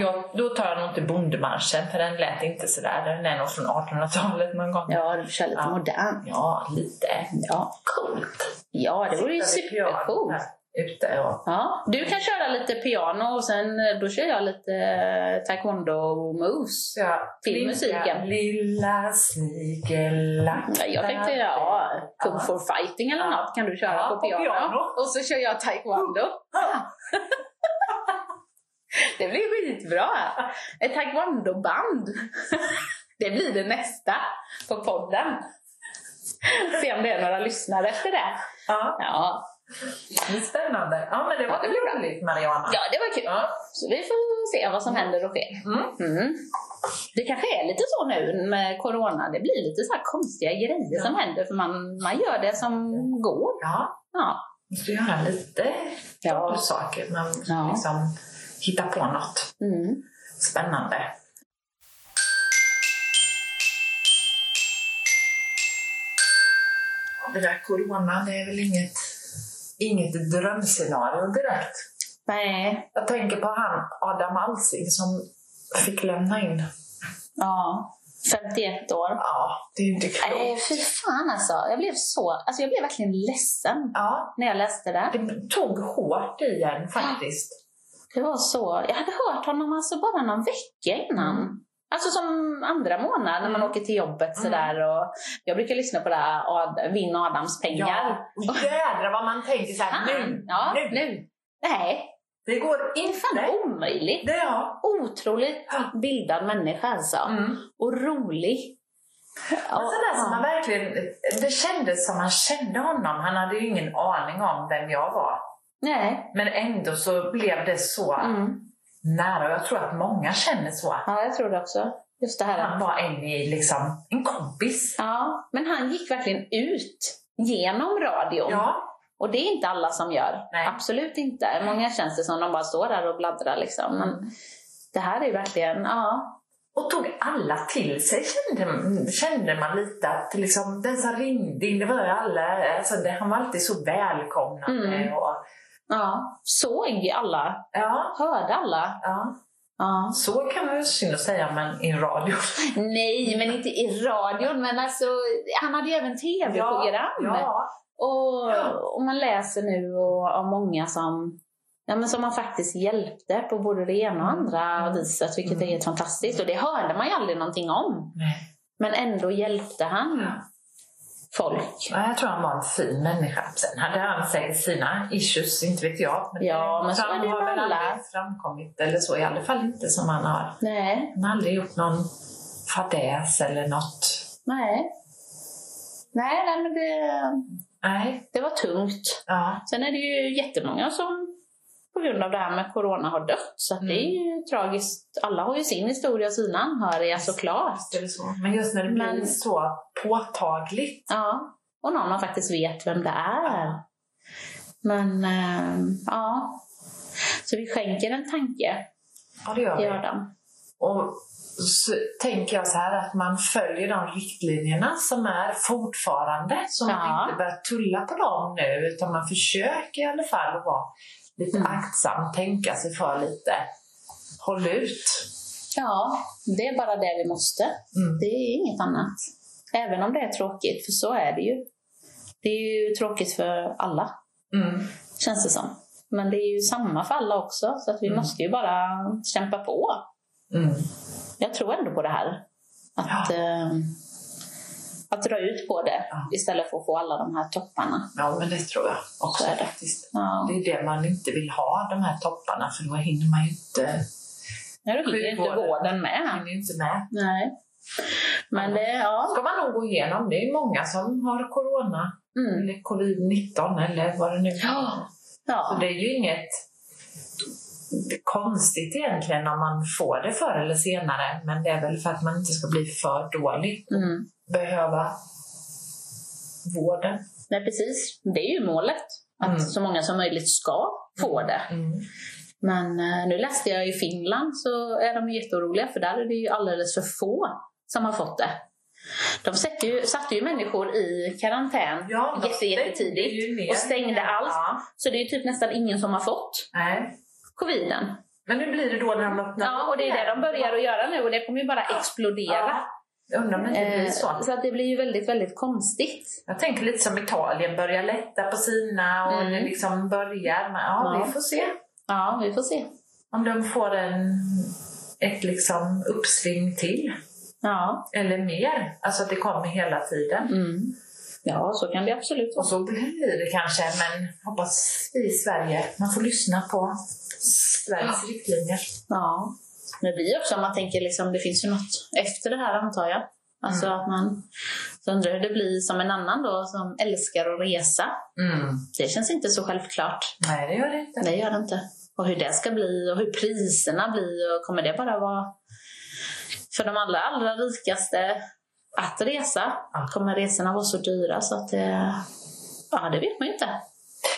A: Ja.
B: jag, då tar jag nog inte bondemarschen för den lät inte sådär. Den är nog från 1800-talet någon gång.
A: Ja, du kör lite
B: Ja.
A: modern.
B: Ja, lite.
A: Ja.
B: Coolt.
A: ja, det vore ju
B: Sitta vid pianot
A: supercoolt.
B: här Ute och...
A: Ja. Du kan köra lite piano och sen eh, då kör jag lite eh, taekwondo-moves.
B: Så jag
A: Till
B: blinkar.
A: musiken.
B: Lilla snigella.
A: Jag tänkte ja, kung for fighting eller
B: Ja.
A: något kan du köra
B: Ja,
A: på,
B: på
A: piano.
B: piano.
A: Och så kör jag taekwondo. det blir skitbra! Ett taekwondo-band. det blir det nästa på podden. Se om det är några lyssnare efter det.
B: Ja,
A: Ja,
B: det är spännande. Ja, men det var
A: Ja, det blir bra.
B: roligt Mariana.
A: Ja, det var kul.
B: Ja.
A: Så vi får se vad som händer och sker.
B: Mm.
A: Mm. Det kanske är lite så nu med corona. Det blir lite så här konstiga grejer
B: Ja.
A: som händer för man, man gör det som går.
B: Ja,
A: Ja.
B: måste göra lite
A: Ja.
B: saker. Man måste
A: Ja.
B: liksom hitta på något
A: Mm.
B: spännande. Det där corona, det är väl inget, inget drömscenario direkt.
A: Nej.
B: Jag tänker på han Adam Alsing som fick lämna in.
A: Ja. 51 år.
B: Ja, det är ju inte
A: Nej,
B: klokt.
A: fy fan alltså. Jag blev så... Alltså jag blev verkligen ledsen
B: Ja,
A: när jag läste det.
B: det tog hårt i en faktiskt.
A: Det var så... Jag hade hört honom alltså bara någon vecka innan. Alltså som andra månad när man
B: Mm.
A: åker till jobbet
B: Mm.
A: sådär. Och jag brukar lyssna på det här Ad- Vinn Adams pengar.
B: Ja, och jädrar vad man tänker så här
A: Fan!
B: nu,
A: Ja,
B: nu.
A: nu. Nej,
B: Det går inte.
A: fan omöjligt.
B: Det är jag.
A: Otroligt
B: Ja.
A: bildad människa alltså.
B: Mm.
A: Och rolig. Ja,
B: Och sådär som man
A: ja.
B: verkligen, det kändes som man kände honom. Han hade ju ingen aning om vem jag var.
A: Nej.
B: Men ändå så blev det så
A: Mm.
B: nära. Och jag tror att många känner så.
A: Ja, jag tror det också. Just det här.
B: Han var en, i, liksom, en kompis.
A: Ja, men han gick verkligen ut genom radion.
B: Ja.
A: Och det är inte alla som gör.
B: Nej.
A: Absolut inte. Många känns det som de bara står där och bladdrar liksom. Men det här är verkligen, ja.
B: Och tog alla till sig kände, kände man lite. Att liksom, den som ringde in, det var ju alla. Alltså, det, han var alltid så välkomnande.
A: Mm.
B: Och,
A: ja. Såg alla,
B: ja,
A: hörde alla.
B: ja.
A: Ja.
B: Så kan man ju synd att säga, men i radio.
A: Nej, men inte i radion. Men alltså, han hade ju även tv-program.
B: Ja, ja.
A: Och, och man läser nu och, om många som Ja, men som man faktiskt hjälpte på både det ena och andra viset, vilket är helt fantastiskt. Och det hörde man ju aldrig någonting om.
B: Nej.
A: Men ändå hjälpte han
B: Ja.
A: folk.
B: Ja, jag tror han var en fin människa. Sen hade han säkert sina issues, inte vet jag.
A: Ja, men så
B: han
A: är det ju
B: har
A: med
B: väl
A: alla.
B: aldrig framkommit eller så. I alla fall inte som han har.
A: Nej,
B: Han har aldrig gjort någon fadäs eller något.
A: nej. Nej, nej men det,
B: Nej.
A: det var tungt.
B: Ja.
A: Sen är det ju jättemånga som på grund av det här med corona har dött. Så att det är ju tragiskt. Alla har ju sin historia och sina anhöriga såklart.
B: Visst är det så. Men just när det blir
A: Men-
B: så påtagligt.
A: Ja, och någon man faktiskt vet vem det är.
B: Ja.
A: Men ehm, ja, så vi skänker en tanke.
B: Ja, det
A: Det
B: gör vi.
A: gör den.
B: Och så tänker jag så här att man följer de riktlinjerna som är fortfarande. Så man
A: Ja.
B: inte börjar tulla på dem nu utan man försöker i alla fall att vara lite
A: Mm.
B: aktsam, tänka sig för lite. Håll ut.
A: Ja, det är bara det vi måste.
B: Mm.
A: Det är inget annat. Även om det är tråkigt, för så är det ju. Det är ju tråkigt för alla,
B: Mm.
A: känns det som. Men det är ju samma för alla också, så att vi
B: Mm.
A: måste ju bara kämpa på.
B: Mm.
A: Jag tror ändå på det här. Att, ehm, att dra ut på det
B: Ja.
A: istället för att få alla de här topparna.
B: Ja, men det tror jag också
A: Så är det.
B: faktiskt.
A: Ja.
B: Det är det man inte vill ha, de här topparna, för då hinner man ju inte,
A: Nej, då hinner ju inte
B: Sjukvården.
A: vården med.
B: hinner ju inte med.
A: Nej. Men det, ja.
B: ska man nog gå igenom. Det är ju många som har corona,
A: Mm.
B: eller covid-19 eller vad det nu är.
A: Ja.
B: Så
A: ja.
B: det är ju inget konstigt egentligen om man får det förr eller senare. Men det är väl för att man inte ska bli för dålig.
A: Mm.
B: Behöva vården.
A: Nej, precis. Det är ju målet. Att
B: Mm.
A: så många som möjligt ska få det. Men eh, nu läste jag i Finland så är de jätteoroliga för där är det ju alldeles för få som har fått det. De satte ju, satte ju människor i karantän
B: Ja,
A: Jätte- jättetidigt. och stängde allt.
B: Ja.
A: Så det är ju typ nästan ingen som har fått
B: Nej.
A: coviden.
B: Men hur blir det då när de öppnar
A: Ja, och det är det de börjar att göra nu och det kommer ju bara explodera.
B: Ja. Jag undrar om det inte blir
A: Eh,
B: så.
A: Så att det blir ju väldigt, väldigt konstigt.
B: Jag tänker lite som Italien, börjar lätta på sina och
A: Mm.
B: det liksom börjar. Men ja,
A: Ja.
B: vi får se
A: Ja, vi får se.
B: om de får en, ett liksom uppsving till.
A: Ja,
B: Eller mer. Alltså att det kommer hela tiden.
A: mm. ja så kan det absolut
B: Och
A: vara.
B: så blir det kanske, men hoppas vi i Sverige. Man får lyssna på Sveriges riktlinjer.
A: Ja. Men det blir också om man tänker liksom, det finns ju något efter det här antar jag. Alltså att man så undrar hur det blir som en annan då som älskar att resa. Det känns inte så självklart.
B: Mm. Nej, det gör det inte.
A: Det gör det inte. Och hur det ska bli och hur priserna blir och kommer det bara vara för de allra, allra rikaste att resa?
B: Ja.
A: Kommer resorna vara så dyra så att det... Ja, det vet man ju inte.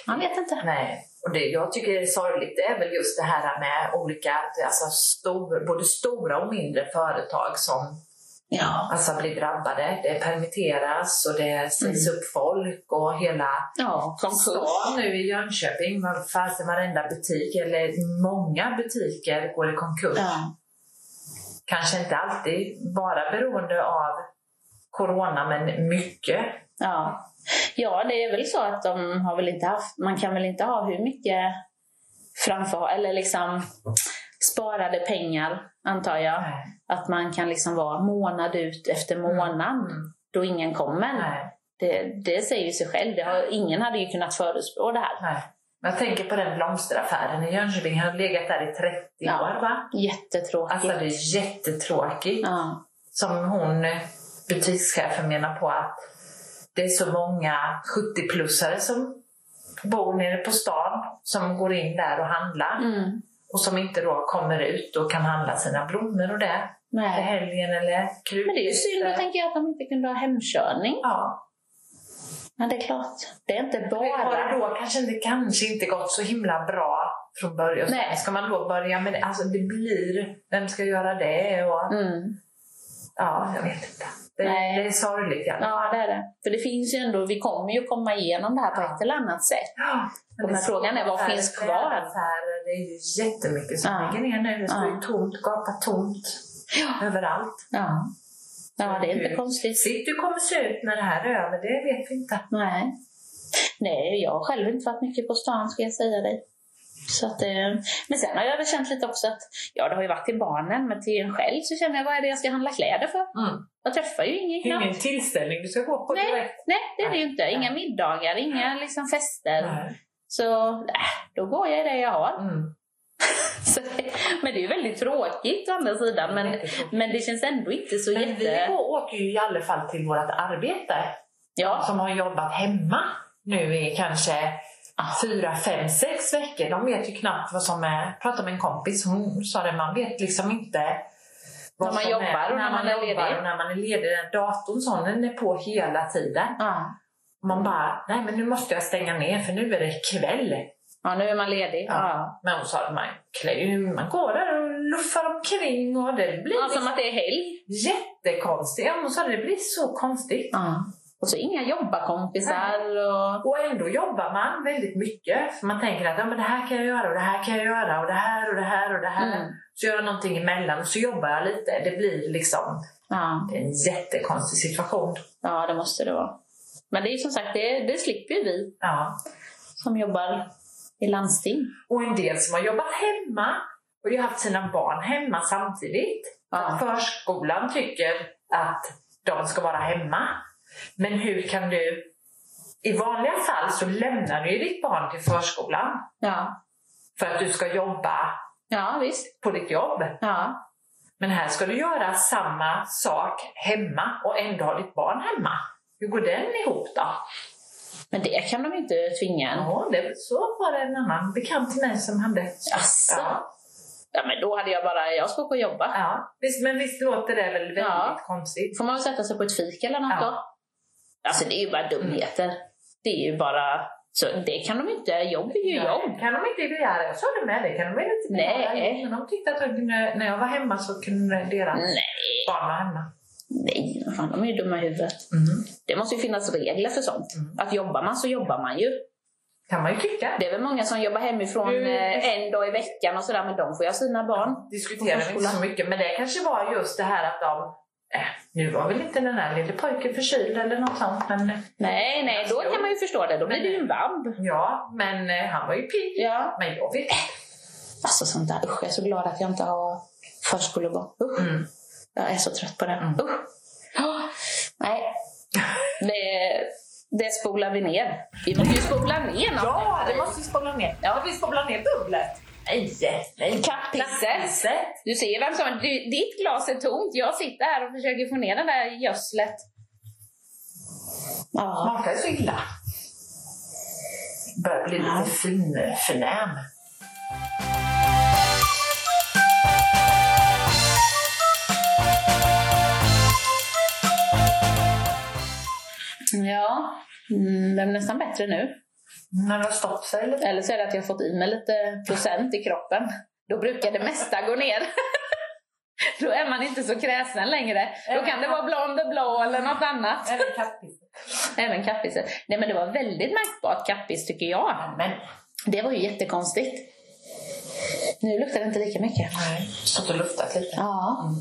A: Man vet inte.
B: Nej. Och det jag tycker är sorgligt det är väl just det här med olika, alltså stor, både stora och mindre företag som
A: Ja,
B: alltså, blir drabbade. Det permitteras och det sägs upp folk och hela
A: ja konkurs.
B: stan nu i Jönköping, vad fasen varenda butik eller många butiker går i konkurs.
A: Ja.
B: kanske inte alltid bara beroende av corona, men mycket.
A: Ja. ja, det är väl så att de har väl inte haft... Man kan väl inte ha hur mycket framför... Eller liksom sparade pengar, antar jag.
B: Nej.
A: Att man kan liksom vara månad ut efter månad
B: Mm.
A: då ingen kommer.
B: Nej.
A: Det, det säger ju sig själv. Det har, ingen hade ju kunnat förutspå det här.
B: Nej. Men jag tänker på den blomsteraffären i Jönköping. Han har legat där i 30
A: Ja.
B: år. Va?
A: Jättetråkigt.
B: Alltså det är jättetråkigt.
A: ja.
B: Som hon, eh, butikschefen, menar på att det är så många 70-plussare som bor nere på stan som går in där och handlar
A: mm.
B: och som inte då kommer ut och kan handla sina blommor och det för
A: Nej.
B: helgen eller krukor.
A: Men det är ju synd, då tänker jag, att de inte kunde ha hemkörning.
B: Ja,
A: Men det är klart, det är inte
B: Har det
A: bara...
B: då kanske inte, kanske inte gått så himla bra från början.
A: Nej.
B: Ska man då börja med det? Alltså det blir, vem ska göra det? Och,
A: Mm.
B: Ja, jag vet inte. Det,
A: Nej.
B: det är sorgligt. Ja.
A: Ja, det är det. För det finns ju ändå, vi kommer ju komma igenom det här på
B: Ja.
A: ett eller annat sätt.
B: Ja,
A: Och men
B: det
A: frågan är, vad
B: affärer,
A: finns kvar?
B: affärer, Det är ju jättemycket som
A: Ja.
B: ligger ner nu. Det står
A: Ja.
B: ju tomt, gapar tomt överallt.
A: Ja, ja det är inte
B: Hur
A: konstigt.
B: City kommer se ut när det här är över, det vet vi inte.
A: Nej. Nej, jag har själv inte varit mycket på stan, ska jag säga dig. Så att, eh, men sen har jag väl känt lite också att, ja det har ju varit till barnen, men till en själv så känner jag, vad är det jag ska handla kläder för?
B: Mm.
A: Jag träffar ju ingen
B: Det är
A: knappt.
B: ingen tillställning du ska gå på direkt.
A: Nej, det är det ju inte. Inga middagar, inga liksom fester.
B: Nej.
A: Så äh, då går jag i det jag har.
B: Mm.
A: Så, det- men det är ju väldigt tråkigt å andra sidan. Men, men det känns ändå inte så
B: Men vi
A: jätte...
B: går- åker ju i alla fall till vårt arbete.
A: Ja,
B: som har jobbat hemma nu i kanske fyra, fem, sex veckor. De vet ju knappt vad som är. Jag pratade med en kompis, hon sa det, man vet liksom inte vad
A: När man
B: som
A: jobbar
B: är.
A: och när man är
B: jobbar
A: ledig.
B: och när man är ledig. Den datorn sån, den är på hela tiden.
A: ja.
B: Man bara, nej men nu måste jag stänga ner för nu är det kväll.
A: ja nu är man ledig. Ah. Ja.
B: Men hon sa att man, klär ju- man går där och luffar omkring och det blir
A: Ja, som
B: liksom
A: att det är helg.
B: jättekonstigt. Ja, Hon sa det blir så konstigt.
A: Ja. Och så inga jobbarkompisar och...
B: Och ändå jobbar man väldigt mycket. För man tänker att ja, men det här kan jag göra och det här kan jag göra och det här och det här och det här.
A: Mm.
B: Så gör jag någonting emellan och så jobbar jag lite. Det blir liksom
A: Ja.
B: en jättekonstig situation.
A: ja, det måste det vara. Men det är ju som sagt, det, det slipper ju vi
B: Ja.
A: som jobbar i landsting.
B: Och en del som har jobbat hemma och ju haft sina barn hemma samtidigt.
A: Ja.
B: Att Förskolan tycker att de ska vara hemma. Men hur kan du... I vanliga fall så lämnar du ju ditt barn till förskolan
A: Ja,
B: för att du ska jobba
A: ja visst.
B: på ditt jobb.
A: Ja.
B: Men här ska du göra samma sak hemma och ändå ha ditt barn hemma. Hur går den ihop då?
A: Men det kan de ju inte tvinga en.
B: Ja, det, så var det en annan bekant till mig som hade.
A: Jaså?
B: Ja,
A: Ja, men då hade jag bara, jag ska åka och jobba.
B: ja. Visst, men visst låter det väl väldigt
A: Ja.
B: konstigt?
A: får man väl sätta sig på ett fik eller något
B: Ja.
A: då. Alltså det är ju bara dumheter. Det är ju bara... Så det kan de inte, jobb är ju jobb.
B: Kan de inte begära? Jag sa det med dig. Kan de inte begära?
A: Nej.
B: Men de tyckte att de kunde, när jag var hemma så kunde deras
A: Nej,
B: barn vara hemma.
A: nej, vad fan, de är ju dumma i huvudet.
B: Mm.
A: Det måste ju finnas regler för sånt.
B: Mm.
A: Att jobbar man så jobbar man ju.
B: Kan man ju tycka.
A: Det är väl många som jobbar hemifrån
B: Mm.
A: eh, en dag i veckan och sådär, men de får ju ha sina barn.
B: diskuterar vi inte så mycket. Men det kanske var just det här att de... Eh, nu var väl inte den här lille pojken förkyld eller något sånt. Men,
A: Nej, nej, då kan man ju förstå det. Då blir det ju en vab.
B: ja, men eh, han var ju pigg.
A: Ja.
B: Men jag vet
A: Alltså sånt där, usch, jag är så glad att jag inte har förskolebarn. Usch.
B: mm.
A: Jag är så trött på det.
B: Mm.
A: Usch. Ah, Nej. Det, det spolar vi ner. Vi måste ju spola ner något.
B: Ja, det måste vi spola ner.
A: Ja.
B: Ja. Vi spolar ner bubblet. Nej, nej.
A: Kapisset. Du ser vem som... Du, ditt glas är tomt. Jag sitter här och försöker få ner den där gödslet. Ja.
B: Smakar så illa. Börjar bli lite fin, eh, förnäm.
A: Ja. Mm, den är nästan bättre nu.
B: När det har stått sig lite.
A: Eller så är det att jag har fått i mig lite procent i kroppen. Då brukar det mesta gå ner. Då är man inte så kräsen längre. Då kan det vara Blonde Blå eller något annat.
B: Eller kappis.
A: Även kappiset. Nej men det var väldigt märkbart kappis tycker jag.
B: Men,
A: Det var ju jättekonstigt. Nu luktar det inte lika mycket.
B: nej. Stått och luftat lite.
A: Ja.
B: Mm.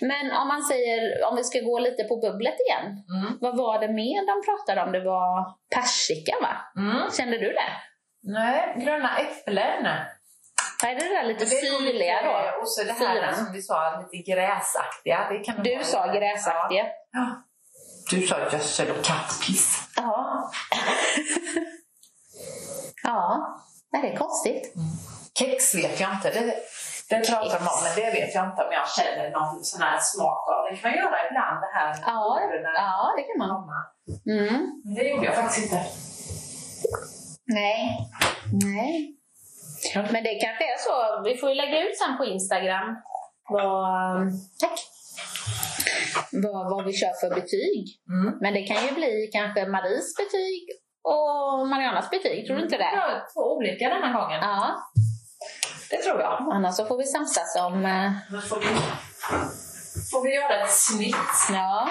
A: Men om man säger, om vi ska gå lite på bubblet igen.
B: Mm.
A: Vad var det mer de pratade om? Det var persika va?
B: Mm.
A: Kände du det?
B: Nej, gröna äpplen.
A: Är det där lite
B: Det är eh,
A: syrliga då?
B: Och så det här
A: Syran.
B: som vi sa, lite gräsaktiga. Det kan
A: Du
B: vara
A: sa
B: lite-
A: gräsaktiga.
B: Ja. Du sa gödsel och kattpiss.
A: Ja. ja. Nej, det är
B: Mm.
A: konstigt.
B: Kex vet jag inte. Det, det pratar man om, men det vet jag inte om jag känner någon sån här smak av. Det kan man göra ibland det här. med
A: Ja,
B: bröderna.
A: ja det kan man. Mm.
B: Men det gjorde jag faktiskt inte.
A: Nej. Nej. Men det kanske är så. Vi får ju lägga ut sen på Instagram vad, tack, vad, vad vi kör för betyg.
B: Mm.
A: Men det kan ju bli kanske Maries betyg och Marianas betyg. Tror du inte det?
B: Ja, två olika den här gången.
A: Ja.
B: Det tror jag.
A: Annars så får vi samsas om... eh,
B: Då får vi, får vi göra ett snitt.
A: Ja.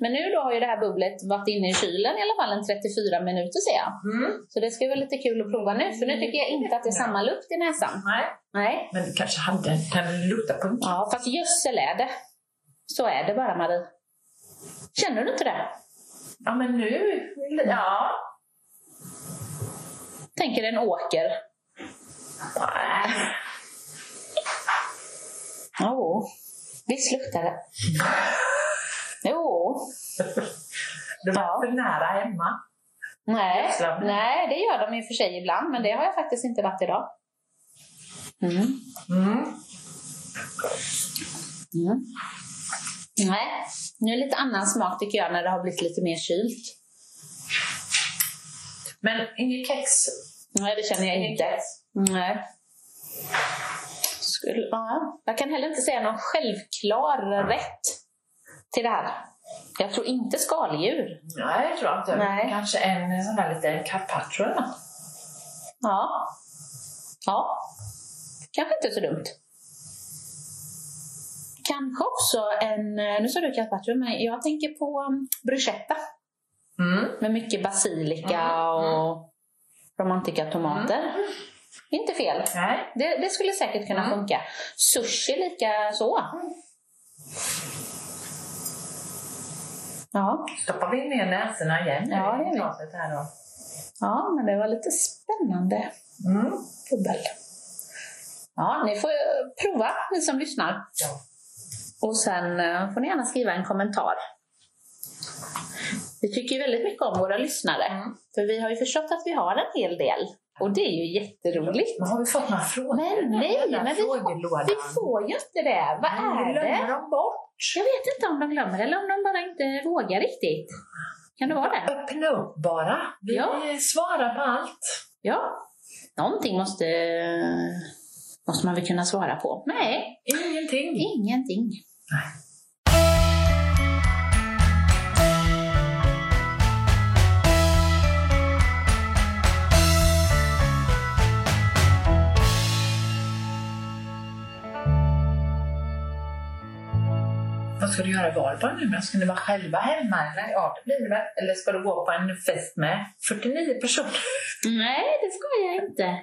A: Men nu då har ju det här bubblet varit inne i kylen i alla fall en 34 minuter ser jag.
B: Mm.
A: Så det ska vara lite kul att prova nu. För nu tycker jag inte att det är samma lukt i näsan.
B: Nej.
A: Nej.
B: Men du kanske hade, kan lukta på en
A: Ja, fast gödsel är det. Så är det bara, Marie. Känner du inte det?
B: Ja, men nu... Ja.
A: Tänker en åker. Jo, visst luktar det. Jo,
B: Det var
A: Ja.
B: för nära hemma.
A: nej.
B: Slam.
A: nej, det gör de i och för sig ibland, men det har jag faktiskt inte varit idag. Mm.
B: Mm.
A: Mm. Nej, nu är det lite annan smak tycker jag när det har blivit lite mer kylt.
B: Men inget kex?
A: Nej, det känner jag inte.
B: kex.
A: Nej. Skulle, ja. Jag kan heller inte säga någon självklar rätt till det här. Jag tror inte skaldjur.
B: Nej, jag tror inte.
A: Nej.
B: Kanske en sån där liten carpaccio eller något.
A: Ja. Ja. Kanske inte så dumt. Kanske också en, eh, nu sa du carpaccio, men jag tänker på um, bruschetta
B: Mm.
A: med mycket basilika och romantika tomater. Inte fel.
B: Nej.
A: Det, det skulle säkert kunna
B: Mm.
A: funka. Sushi lika så. Ja,
B: Stoppar vi ner näsorna igen nu
A: Ja, det gör
B: i
A: vi.
B: glaset här då.
A: ja, men det var lite spännande
B: Mm.
A: bubbel. Ja, ni får eh, prova, ni som lyssnar.
B: Ja.
A: Och sen eh, får ni gärna skriva en kommentar. Vi tycker ju väldigt mycket om våra lyssnare.
B: Mm.
A: För vi har ju förstått att vi har en hel del. Och det är ju jätteroligt.
B: Men har vi fått några frågor?
A: Men nej,
B: Den där
A: men vi,
B: frågelådan.
A: vi får ju inte det. Vad
B: Nej,
A: är
B: vi glömmer
A: det?
B: dem bort.
A: Jag vet inte om de glömmer eller om de bara inte vågar riktigt. Kan det vara det?
B: Öppna upp bara. Vi
A: Ja.
B: svarar på allt.
A: Ja. Någonting måste, måste man väl kunna svara på. Nej,
B: Ingenting.
A: ingenting.
B: Vad ska du göra i Valborg nu då? Ska ni vara själva hemma eller? Ja, det blir det väl. Eller ska du gå på en fest med 49 personer?
A: Nej, det ska jag inte.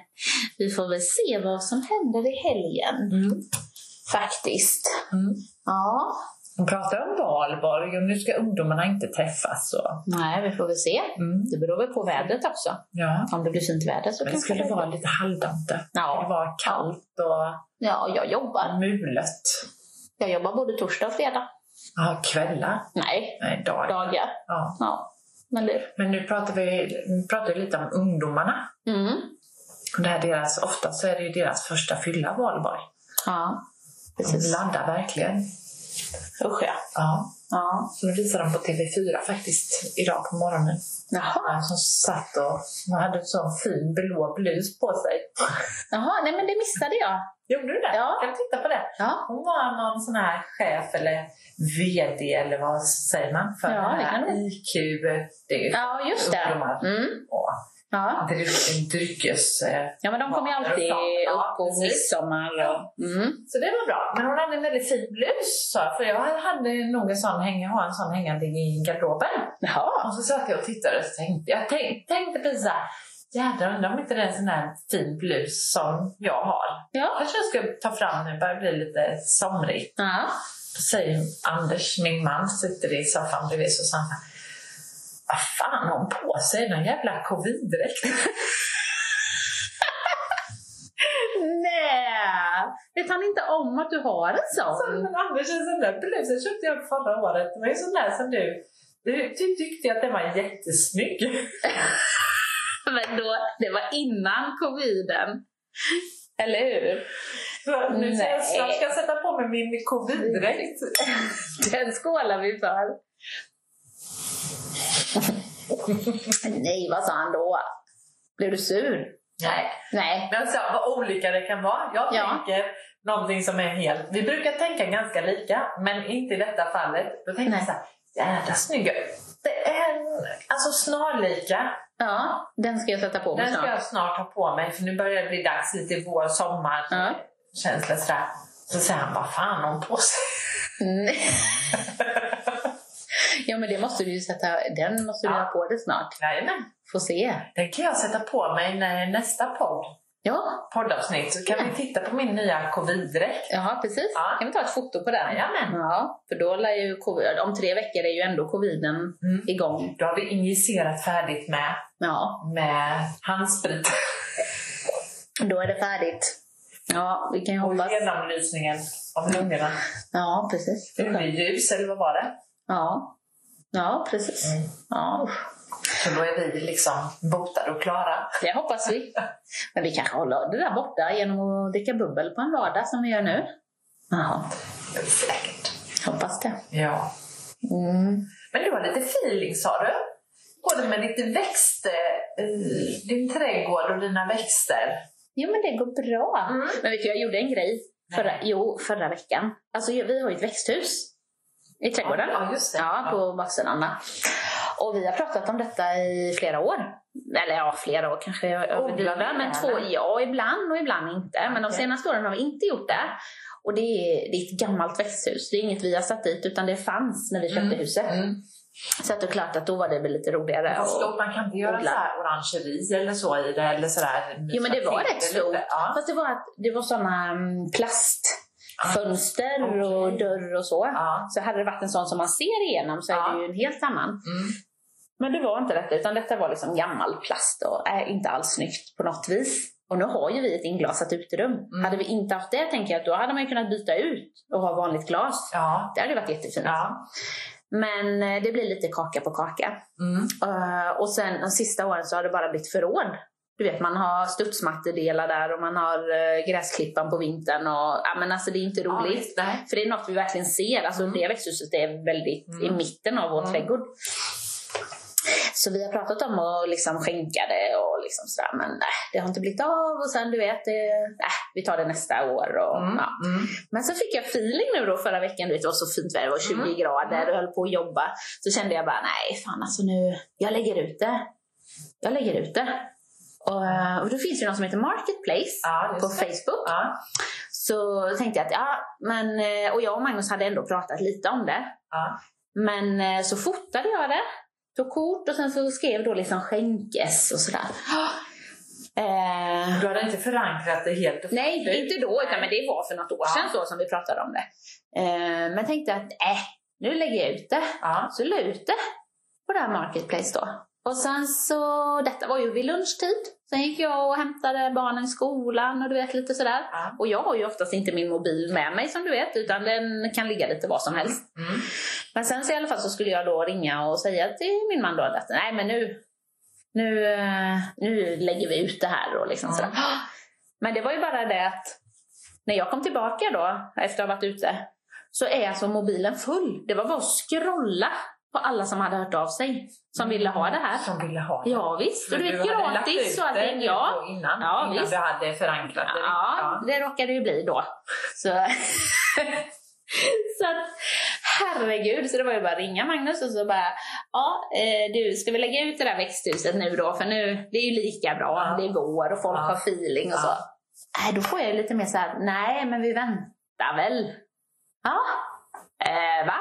A: Vi får väl se vad som händer i helgen.
B: Mm.
A: Faktiskt.
B: Mm.
A: Ja.
B: De pratar om Valborg och nu ska ungdomarna inte träffas. Så.
A: Nej, vi får väl se.
B: Mm.
A: Det beror väl på vädret också.
B: Ja.
A: Om det blir fint väder så
B: Men det
A: kanske
B: skulle
A: det
B: vara lite halvdant. Det skulle
A: Ja.
B: vara kallt och
A: ja, jag jobbar.
B: mulet.
A: Jag jobbar både torsdag och fredag.
B: Ja, kvällar.
A: Nej,
B: Nej, dag.
A: dagar.
B: Ja.
A: Ja, men du.
B: Men nu pratar vi, vi pratar ju lite om ungdomarna.
A: Mm.
B: Och det här deras, ofta så är det ju deras första fylla Valborg.
A: Ja,
B: De
A: precis.
B: laddar verkligen.
A: Usch ja.
B: Ja.
A: ja.
B: Så nu visar de på TV4 faktiskt idag på morgonen.
A: Jaha.
B: Han som satt och han hade en sån fin blå blus på sig.
A: Jaha, nej men det missade jag.
B: Gjorde du det?
A: Ja.
B: Kan du titta på det?
A: Ja,
B: Hon var någon sån här chef eller VD eller vad säger man? För
A: Ja,
B: den
A: det
B: här
A: kan det.
B: IQ, det är ju
A: ja just det.
B: ungdomar.
A: Mm.
B: Och
A: Ja.
B: dryck- dryckes... eh,
A: ja, men de kommer ju alltid
B: Ja,
A: upp på
B: precis.
A: midsommar. Och, mm.
B: Så det var bra. Men hon hade en väldigt fin blus sa jag, för jag hade nog en sån, häng- har en sån hängande i garderoben.
A: Jaha.
B: Och så satt jag och tittade och så tänkte jag tänk, tänkte precis såhär, jädrar undrar om inte det är en sån här fin blus som jag har.
A: Ja.
B: Kanske jag ska ta fram den, börjar bli lite somrig.
A: ja.
B: Då säger Anders, min man, sitter i soffan bredvid och så han bara, vad fan har hon på sig? Någon jävla covid-dräkt?
A: Nej! Vet han inte om att du har en
B: Så,
A: sån?
B: Alltså, men Anders, en sån där blus den köpte jag förra året. Det var ju sån där som du, du, du tyckte att den var jättesnygg.
A: Men då, det var innan coviden. Eller hur?
B: Så nu ska jag,
A: Nej.
B: snart ska jag sätta på mig min covid-dräkt.
A: Den skålar vi för. Nej, vad sa han då? Blev du sur?
B: Nej.
A: Nej.
B: Men så, vad olika det kan vara. Jag
A: Ja.
B: tänker någonting som är helt... Vi brukar tänka ganska lika, men inte i detta fallet. Då tänker
A: Nej.
B: jag så här, jävla snygga. Det är en- alltså snarlika.
A: Ja, den ska jag sätta på mig
B: Den ska
A: snart.
B: jag snart ha på mig för nu börjar det bli dags lite i vår sommar.
A: Ja.
B: Känsla sådär. Så säger han, vad fan har hon på sig?
A: Mm. ja, men det måste du ju sätta. Den måste du
B: Ja.
A: ha på dig snart.
B: Jajamän.
A: Få se.
B: Den kan jag sätta på mig när nästa podd,
A: Ja,
B: poddavsnitt. Så kan
A: Ja.
B: vi titta på min nya covid-dräkt.
A: ja precis.
B: Ja.
A: Kan vi ta ett foto på den?
B: Jajamän.
A: Ja, för då lär ju covid, om tre veckor är ju ändå coviden
B: Mm.
A: igång.
B: Då har vi injicerat färdigt med,
A: Ja,
B: med handsprit.
A: Då är det färdigt. Ja, vi kan ju
B: Och
A: hoppas.
B: genomlysningen av lungorna.
A: Ja, precis. Det är skönt.
B: Ljus, eller vad var det?
A: Ja. Ja, precis.
B: Mm.
A: Ja, usch.
B: Så då är vi liksom botade och klara.
A: det hoppas vi. Men vi kanske håller det där borta genom att dricka bubbel på en lördag som vi gör nu. Jaha,
B: Det är Säkert.
A: hoppas det.
B: Ja.
A: Mm.
B: Men du har lite feeling sa du? Både med lite växter, eh, din trädgård och dina växter.
A: Jo, men det går bra.
B: Mm.
A: Men vet du, jag gjorde en grej förra, jo, förra veckan. Alltså, vi har ju ett växthus i trädgården.
B: Ja, just det.
A: Ja, på baksidan. Och vi har pratat om detta i flera år. Eller ja, flera år kanske jag överdriver.
B: Odlar ni
A: Men
B: det,
A: två,
B: eller?
A: ja, ibland och ibland inte. Men de
B: Okej.
A: senaste åren har vi inte gjort det. Och det är, det är ett gammalt växthus. Det är inget vi har satt dit, utan det fanns när vi köpte
B: Mm.
A: huset.
B: Mm.
A: Så att det är klart att då var det väl lite roligare. och-
B: Fast då, man kan inte göra
A: odla.
B: så här orangeri eller så i det eller sådär.
A: Jo men det var rätt stort.
B: Ja.
A: Fast det var, att, det var sådana mm, plastfönster och
B: Okej.
A: dörr och så.
B: Ja.
A: Så hade det varit en sån som man ser igenom så är
B: Ja.
A: det ju en helt annan.
B: Mm.
A: Men det var inte detta utan detta var liksom gammal plast och är inte alls snyggt på något vis. Och nu har ju vi ett inglasat uterum.
B: Mm.
A: Hade vi inte haft det tänker jag att då hade man ju kunnat byta ut och ha vanligt glas.
B: Ja.
A: Det hade ju varit jättefint.
B: Ja.
A: Men eh, det blir lite kaka på kaka.
B: Mm.
A: Eh, och sen de sista åren så har det bara blivit förråd. Du vet, man har studsmattedelar där och man har eh, gräsklippan på vintern. Och, ja, men alltså, det är inte
B: Ja,
A: roligt.
B: visst, nej.
A: För det är något vi verkligen ser. Alltså, Det växthuset är väldigt i
B: Mm.
A: mitten av vår
B: Mm.
A: trädgård. Så vi har pratat om att liksom skänka det och liksom sådär, men nej, det har inte blivit av. Och sen du vet, det, nej, vi tar det nästa år. Och,
B: Mm.
A: ja.
B: Mm.
A: Men så fick jag feeling nu då förra veckan, du vet det var så fint väder, det var 20
B: Mm.
A: grader och höll på att jobba. Så kände jag bara, nej fan alltså nu, jag lägger ut det. Jag lägger ut det. Och, eh, och då finns det ju någon som heter Marketplace
B: Ja,
A: på
B: just det.
A: Facebook.
B: Ja.
A: Så tänkte jag att, ja men, eh, och jag och Magnus hade ändå pratat lite om det.
B: Ja.
A: Men eh, så fotade jag det, tog kort och sen så skrev då liksom skänkes och sådär. Eh,
B: Du hade inte förankrat det helt och
A: Nej,
B: fullt.
A: inte då, utan men det var för något år
B: Ja.
A: sedan så som vi pratade om det. Eh, men tänkte att, äh, nu lägger jag ut det.
B: Ja.
A: Så la jag ut det på det här Marketplace då. Och sen så, detta var ju vid lunchtid. Sen gick jag och hämtade barnen i skolan och du vet lite sådär.
B: Ja.
A: Och jag har ju oftast inte min mobil med mig som du vet, utan den kan ligga lite var som helst.
B: Mm.
A: Men sen så i alla fall så skulle jag då ringa och säga till min man då att nej men nu, nu, eh, nu lägger vi ut det här och liksom
B: Ja.
A: sådär. Men det var ju bara det att när jag kom tillbaka då efter att ha varit ute så är alltså mobilen full. Det var bara att scrolla på alla som hade hört av sig som ville ha det här.
B: Mm. Som ville ha det.
A: Ja visst, och det
B: Men
A: är
B: du hade lagt
A: gratis
B: ut
A: och
B: det
A: allting.
B: nu
A: Ja.
B: då Innan,
A: Ja,
B: innan
A: visst.
B: du hade förankrat det.
A: Ja, det råkade det ju bli då. Så, så att, herregud, så det var ju bara att ringa Magnus och så bara, ja eh, du, ska vi lägga ut det där växthuset nu då? För nu, det är ju lika bra,
B: Ja.
A: det är vår och folk
B: Ja.
A: har feeling och så.
B: Ja.
A: Nej, då får jag ju lite mer så här, nej men vi väntar väl. Ja, eh, va?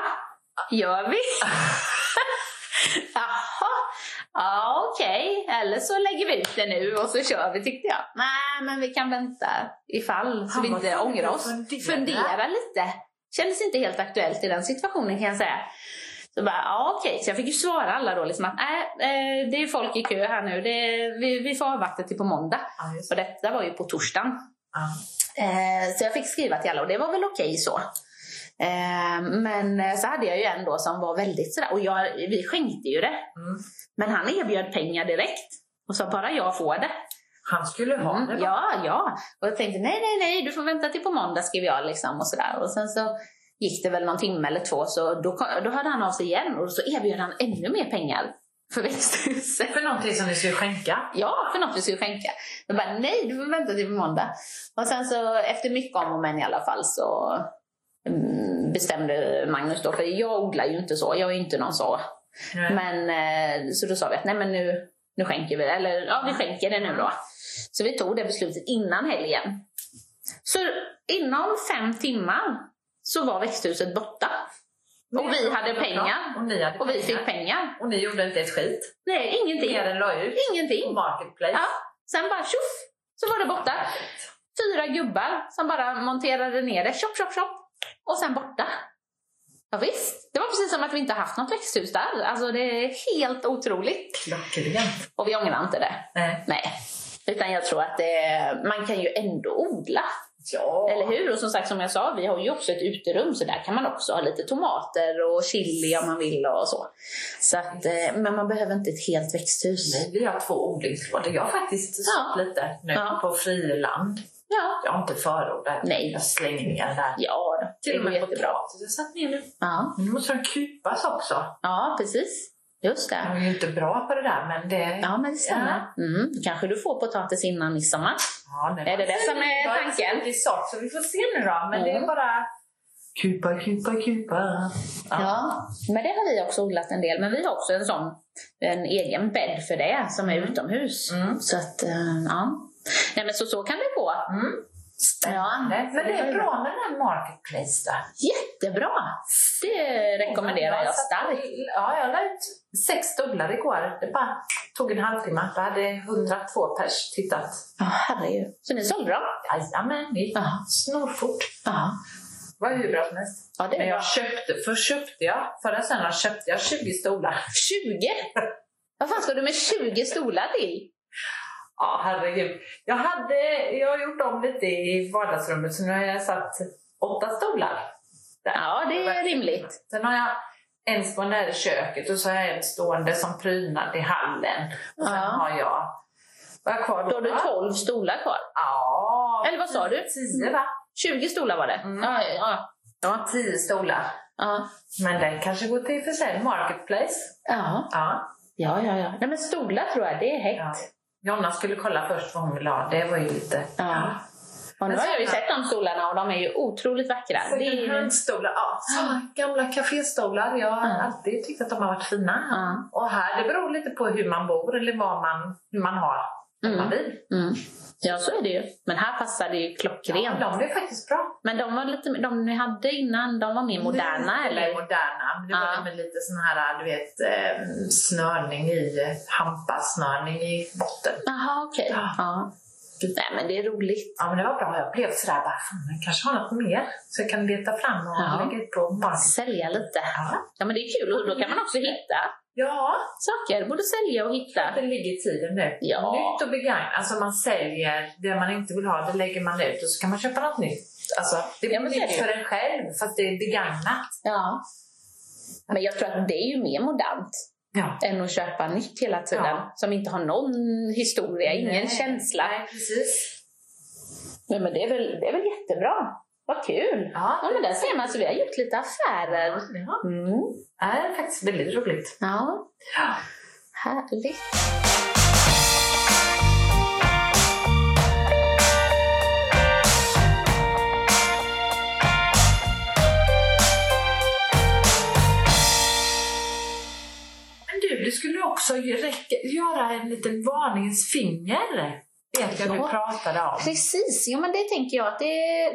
A: Gör vi? Jaha, ja okej. Eller så lägger vi ut det nu och så kör vi tyckte jag. Nej, men vi kan vänta ifall så
B: Han
A: vi
B: var
A: inte
B: tvungen
A: ångrar
B: att
A: oss.
B: fundera.
A: Fundera lite. Kändes inte helt aktuellt i den situationen kan jag säga. Så bara, ja okej. Så jag fick ju svara alla då liksom att nej, eh, det är folk i kö här nu. Det, vi, vi får avvakta till på måndag.
B: Ja, just
A: Och
B: det.
A: detta var ju på torsdagen.
B: Ja.
A: Eh, så jag fick skriva till alla och det var väl okej så. Eh, men eh, så hade jag ju en då som var väldigt sådär, och jag, vi skänkte ju det.
B: Mm.
A: Men han erbjöd pengar direkt och sa bara jag får det.
B: Han skulle ha det.
A: Mm,
B: va?
A: ja, ja. Och jag tänkte nej, nej, nej, du får vänta till på måndag skrev jag liksom och sådär. Och sen så gick det väl någon timme eller två så då, kom- då hörde han av sig igen och så erbjöd han ännu mer pengar för växthuset.
B: För någonting som du skulle skänka.
A: Ja, för något vi skulle skänka. Jag bara, nej, du får vänta till på måndag. Och sen så, efter mycket om och men i alla fall, så mm, bestämde Magnus då, för jag odlar ju inte så, jag är ju inte någon så.
B: Nej.
A: Men, eh, så då sa vi att nej men nu, nu skänker vi, eller ja vi skänker det nu då. Så vi tog det beslutet innan helgen. Så inom fem timmar så var växthuset borta. Och vi hade pengar.
B: Och ni, hade
A: Och vi fick pengar.
B: Och ni gjorde inte ett skit.
A: Nej, ingenting.
B: Mer än la ut på
A: Ingenting.
B: Marketplace.
A: Ja, sen bara tjoff så var det borta. Fyra gubbar som bara monterade ner det. Tjopp, tjopp, tjopp. Och sen borta. Ja, visst, det var precis som att vi inte haft något växthus där. Alltså det är helt otroligt.
B: Klockrent. Eh,
A: Och vi ångrar inte det.
B: Nej.
A: Nej. Utan jag tror att eh, man kan ju ändå odla.
C: Ja.
A: Eller hur? Och som sagt, som jag sa, vi har ju också ett uterum så där kan man också ha lite tomater och chili om man vill och så. så att, eh, men man behöver inte ett helt växthus.
B: Nej, vi har två odlingslådor. Jag har faktiskt
A: Ja.
B: sått lite nu
A: Ja.
B: på friland.
A: Ja.
B: Jag har inte förordat.
A: Nej.
B: Jag slänger ner där.
A: Ja, då. det
B: Till och
A: är
B: med
A: jättebra.
B: potatis har jag satt ner nu.
A: Ja,
B: Nu måste de kupas också.
A: ja precis. Just
B: Jag
A: det.
B: är ju inte bra på det där, men det...
A: Mm. Ja, men det stämmer. Mm. Kanske du får potatis innan midsommar.
B: Ja, nej,
A: Är det det som är
B: Jag
A: tanken?
B: Det är sånt, så vi får se nu då. Men det
A: Mm.
B: är bara... Kupa, kupa, kupa.
A: Ja. men det har vi också odlat en del. Men vi har också en sån, en egen bädd för det som är utomhus.
B: Mm.
A: Så att, eh, ja. Nej men så, så kan det gå.
B: Mm.
A: Spännande.
B: Nej, Men det är bra med den här marketplace där.
A: Jättebra! Det rekommenderar jag starkt.
B: Ja, jag la ut sex stullar igår. Det bara tog en halvtimme. Det hade 102 pers tittat.
A: Ja, herregud. Så ni sålde dem?
B: Jajamän, det gick
A: Ja.
B: snorfort.
A: Ja.
B: Det var hur bra som helst.
A: ja, det
B: Men
A: är bra.
B: jag köpte, först köpte jag, förra söndagen köpte jag 20 stolar.
A: 20! Vad fan ska du med 20 stolar till?
B: Ja, herregud. Jag, hade, jag har gjort om lite i vardagsrummet så nu har jag satt åtta stolar.
A: Ja, det är rimligt.
B: Sen har jag en stående här i köket och så har jag en stående som prydnad i hallen. Och sen
A: Ja.
B: har jag... Vad har jag kvar
A: Då har du 12 stolar kvar.
B: Ja.
A: Eller vad sa du?
B: Tio va?
A: 20 stolar var det.
B: Mm.
A: Ja, ja,
B: Ja, tio stolar.
A: ja.
B: Men den kanske går till försäljning. Marketplace.
A: Ja,
B: Ja.
A: ja, ja. ja. Nej men stolar tror jag, det är
B: ja.
A: hett.
B: Jonna skulle kolla först vad hon ville ha. Det var ju lite...
A: Ja. Och nu har jag ju sett de stolarna och de är ju otroligt vackra. Det är
B: Second
A: ju...
B: hand-stolar. Ja, såna gamla kaféstolar. Jag har
A: Ja.
B: alltid tyckt att de har varit fina.
A: Ja.
B: Och här, det beror lite på hur man bor eller vad man, hur man har. vad
A: Mm.
B: Man vill.
A: Mm. Ja, så är det ju. Men här passar det ju
B: Ja,
A: klockrent.
B: de är faktiskt bra.
A: Men de, var lite, de ni hade innan, de var mer moderna
B: Lite
A: eller?
B: Moderna. Men det
A: Ja.
B: var med lite sån här, du vet, eh, snörning i, eh, hampasnörning i botten.
A: Jaha, okej.
B: Ja.
A: Ja. Nej, men det är roligt.
B: Ja, men det var bra. Jag blev sådär, bara, fan, jag kanske har något mer så jag kan leta fram och
A: Ja.
B: lägga ut på marknaden.
A: Sälja lite.
B: Ja.
A: Ja, men det är kul. Och då kan man också hitta
B: ja,
A: saker. Både sälja och hitta.
B: det ligger i tiden nu.
A: Ja.
B: Nytt och begagnat. Alltså man säljer det man inte vill ha, det lägger man ut och så kan man köpa något nytt. Alltså, det blir
A: Ja, men det är
B: nytt
A: det.
B: för en själv fast det är begagnat.
A: Ja. Men jag tror att det är ju mer modernt
B: Ja.
A: än att köpa nytt hela tiden.
B: Ja.
A: Som inte har någon historia, ingen
B: Nej.
A: känsla.
B: Nej, precis.
A: Nej, men det är, väl, det är väl jättebra. Vad kul!
B: Ja.
A: Ja, men där ser man. Så vi har gjort lite affärer.
B: Ja.
A: Mm.
B: Det är faktiskt väldigt roligt.
A: Ja,
B: Ja.
A: härligt.
B: Men du, du skulle också ju räcka, göra en liten varningens finger. Vet jag
A: Ja.
B: du pratade om.
A: Precis, jo men det tänker jag att det,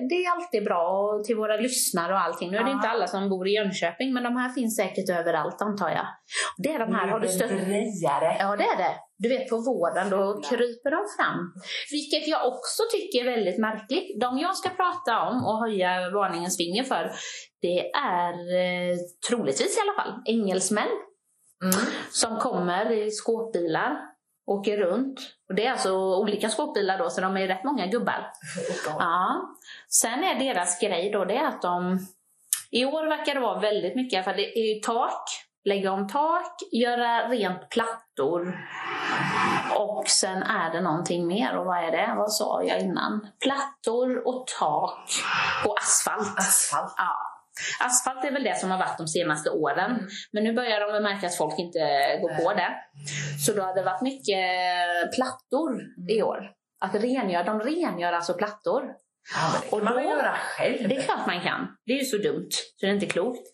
A: det är alltid bra och till våra lyssnare och allting. Nu är det
B: Ja.
A: inte alla som bor i Jönköping men de här finns säkert överallt antar jag. Det är de här, har du stött
B: Lurendrejare.
A: Ja, det är det. Du vet, på våren då kryper de fram. Vilket jag också tycker är väldigt märkligt. De jag ska prata om och höja varningens finger för, det är eh, troligtvis i alla fall engelsmän
B: Mm.
A: som kommer i skåpbilar, åker runt. Och det är alltså olika skåpbilar då, så de är rätt många gubbar. Ja. Sen är deras grej då det är att de... I år verkar det vara väldigt mycket, för det är ju tak, lägga om tak, göra rent plattor. Och sen är det någonting mer, och vad är det? Vad sa jag innan? Plattor och tak och asfalt.
B: Asfalt.
A: Ja. Asfalt är väl det som har varit de senaste åren. Men nu börjar de väl märka att folk inte går på det. Så då har det varit mycket plattor i år. Att rengöra, de rengör alltså plattor.
B: Ja, men det
A: Och
B: kan man
A: då-
B: väl göra själv.
A: Det är klart man kan. Det är ju så dumt så det är inte klokt.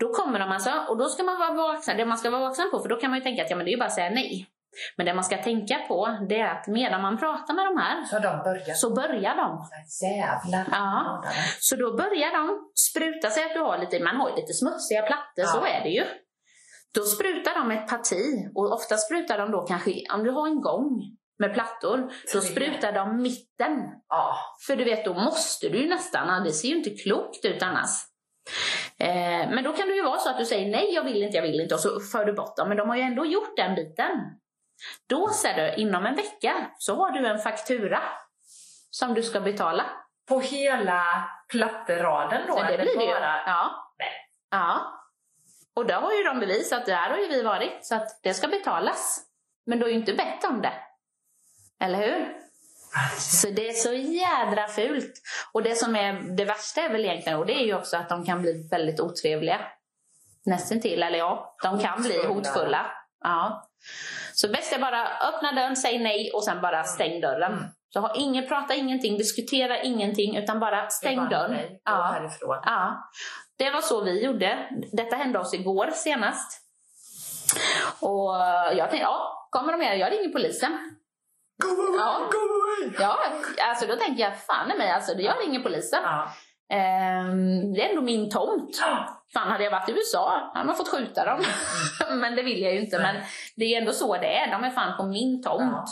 A: Då kommer de alltså, och då ska man vara vaksam. Det man ska vara vaksam på, för då kan man ju tänka att ja, men det är ju bara att säga nej. Men det man ska tänka på, det är att medan man pratar med de här
B: Så de börjar.
A: så börjar de.
B: Jävlar.
A: Ja. Så då börjar de spruta sig att du har lite, man har ju lite smutsiga plattor, så
B: Ja.
A: är det ju. Då sprutar de ett parti och ofta sprutar de då kanske, om du har en gång med plattor, så
B: Tre.
A: sprutar de mitten.
B: Ja.
A: För du vet, då måste du ju nästan, det ser ju inte klokt ut annars. Eh, men då kan det ju vara så att du säger nej, jag vill inte, jag vill inte och så för du bort dem. Men de har ju ändå gjort den biten. Då ser du, inom en vecka så har du en faktura som du ska betala.
B: På hela platteraden då?
A: Så det
B: eller
A: blir det ju.
B: bara-
A: Ja.
B: Nej.
A: ja. Och där har ju de bevis att där har ju vi varit, så att det ska betalas. Men du har ju inte bett om det. Eller hur? Så det är så jädra fult. Och det som är det värsta är väl egentligen, och det är ju också att de kan bli väldigt otrevliga. Nästintill, eller ja, de kan bli
B: Hotfulla.
A: hotfulla. Ja. Så bäst är bara öppna dörren, säg nej och sen bara stäng dörren.
B: Mm.
A: Så ha ingen, prata ingenting, diskutera ingenting utan bara
B: Det är
A: stäng
B: bara
A: dörren.
B: nej, gå
A: Ja.
B: härifrån.
A: Ja, det var så vi gjorde. Detta hände oss igår senast. Och jag tänkte, ja, kommer de här, jag ringer polisen.
B: Gå away,
A: Ja.
B: go away!
A: Ja, alltså då tänker jag, fan i mig, alltså jag ringer polisen.
B: Ja.
A: Ehm, det är ändå min tomt. Fan, hade jag varit i USA, hade man fått skjuta dem. men det vill jag ju inte.
B: Nej.
A: Men det är ändå så det är, de är fan på min tomt.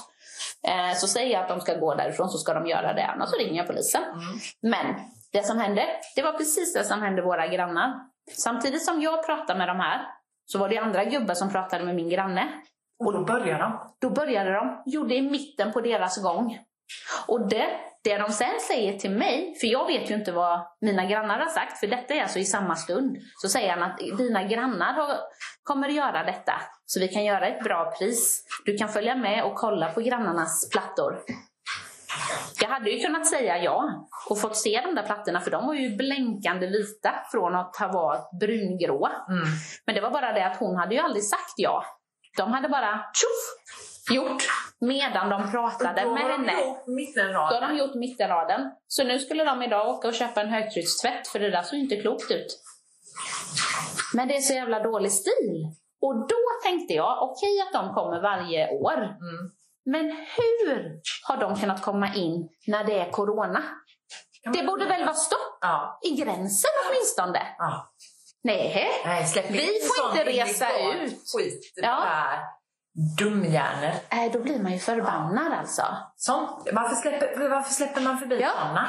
A: Eh, så säger jag att de ska gå därifrån så ska de göra det, annars så ringer jag polisen.
B: Mm.
A: Men det som hände, det var precis det som hände våra grannar. Samtidigt som jag pratade med de här så var det andra gubbar som pratade med min granne.
B: Och då börjar de.
A: Då började de, gjorde i mitten på deras gång. Och det, det de sen säger till mig, för jag vet ju inte vad mina grannar har sagt, för detta är alltså i samma stund. Så säger han att dina grannar har, kommer göra detta, så vi kan göra ett bra pris. Du kan följa med och kolla på grannarnas plattor. Jag hade ju kunnat säga ja och fått se de där plattorna, för de var ju blänkande vita från att ha varit brungråa.
B: Mm.
A: Men det var bara det att hon hade ju aldrig sagt ja. De hade bara tjoff gjort medan de pratade med henne. Då har de
B: mittenraden.
A: gjort mittenraden. Så nu skulle de idag åka och köpa en högtryckstvätt för det där såg ju inte klokt ut. Men det är så jävla dålig stil. Och då tänkte jag, okej att de kommer varje år.
B: Mm.
A: Men hur har de kunnat komma in när det är corona?
B: Kan
A: Det
B: man-
A: borde väl vara stopp
B: Ja.
A: i gränsen åtminstone?
B: ja.
A: Nej.
B: Nej, släpp
A: Vi
B: in
A: får
B: sånt
A: inte
B: in i
A: resa
B: stan.
A: ut.
B: Skit i
A: Ja.
B: det här. Dumhjärnor.
A: Äh, då blir man ju förbannad alltså.
B: Sånt. Varför släpper, varför släpper man förbi
A: Ja.
B: såna?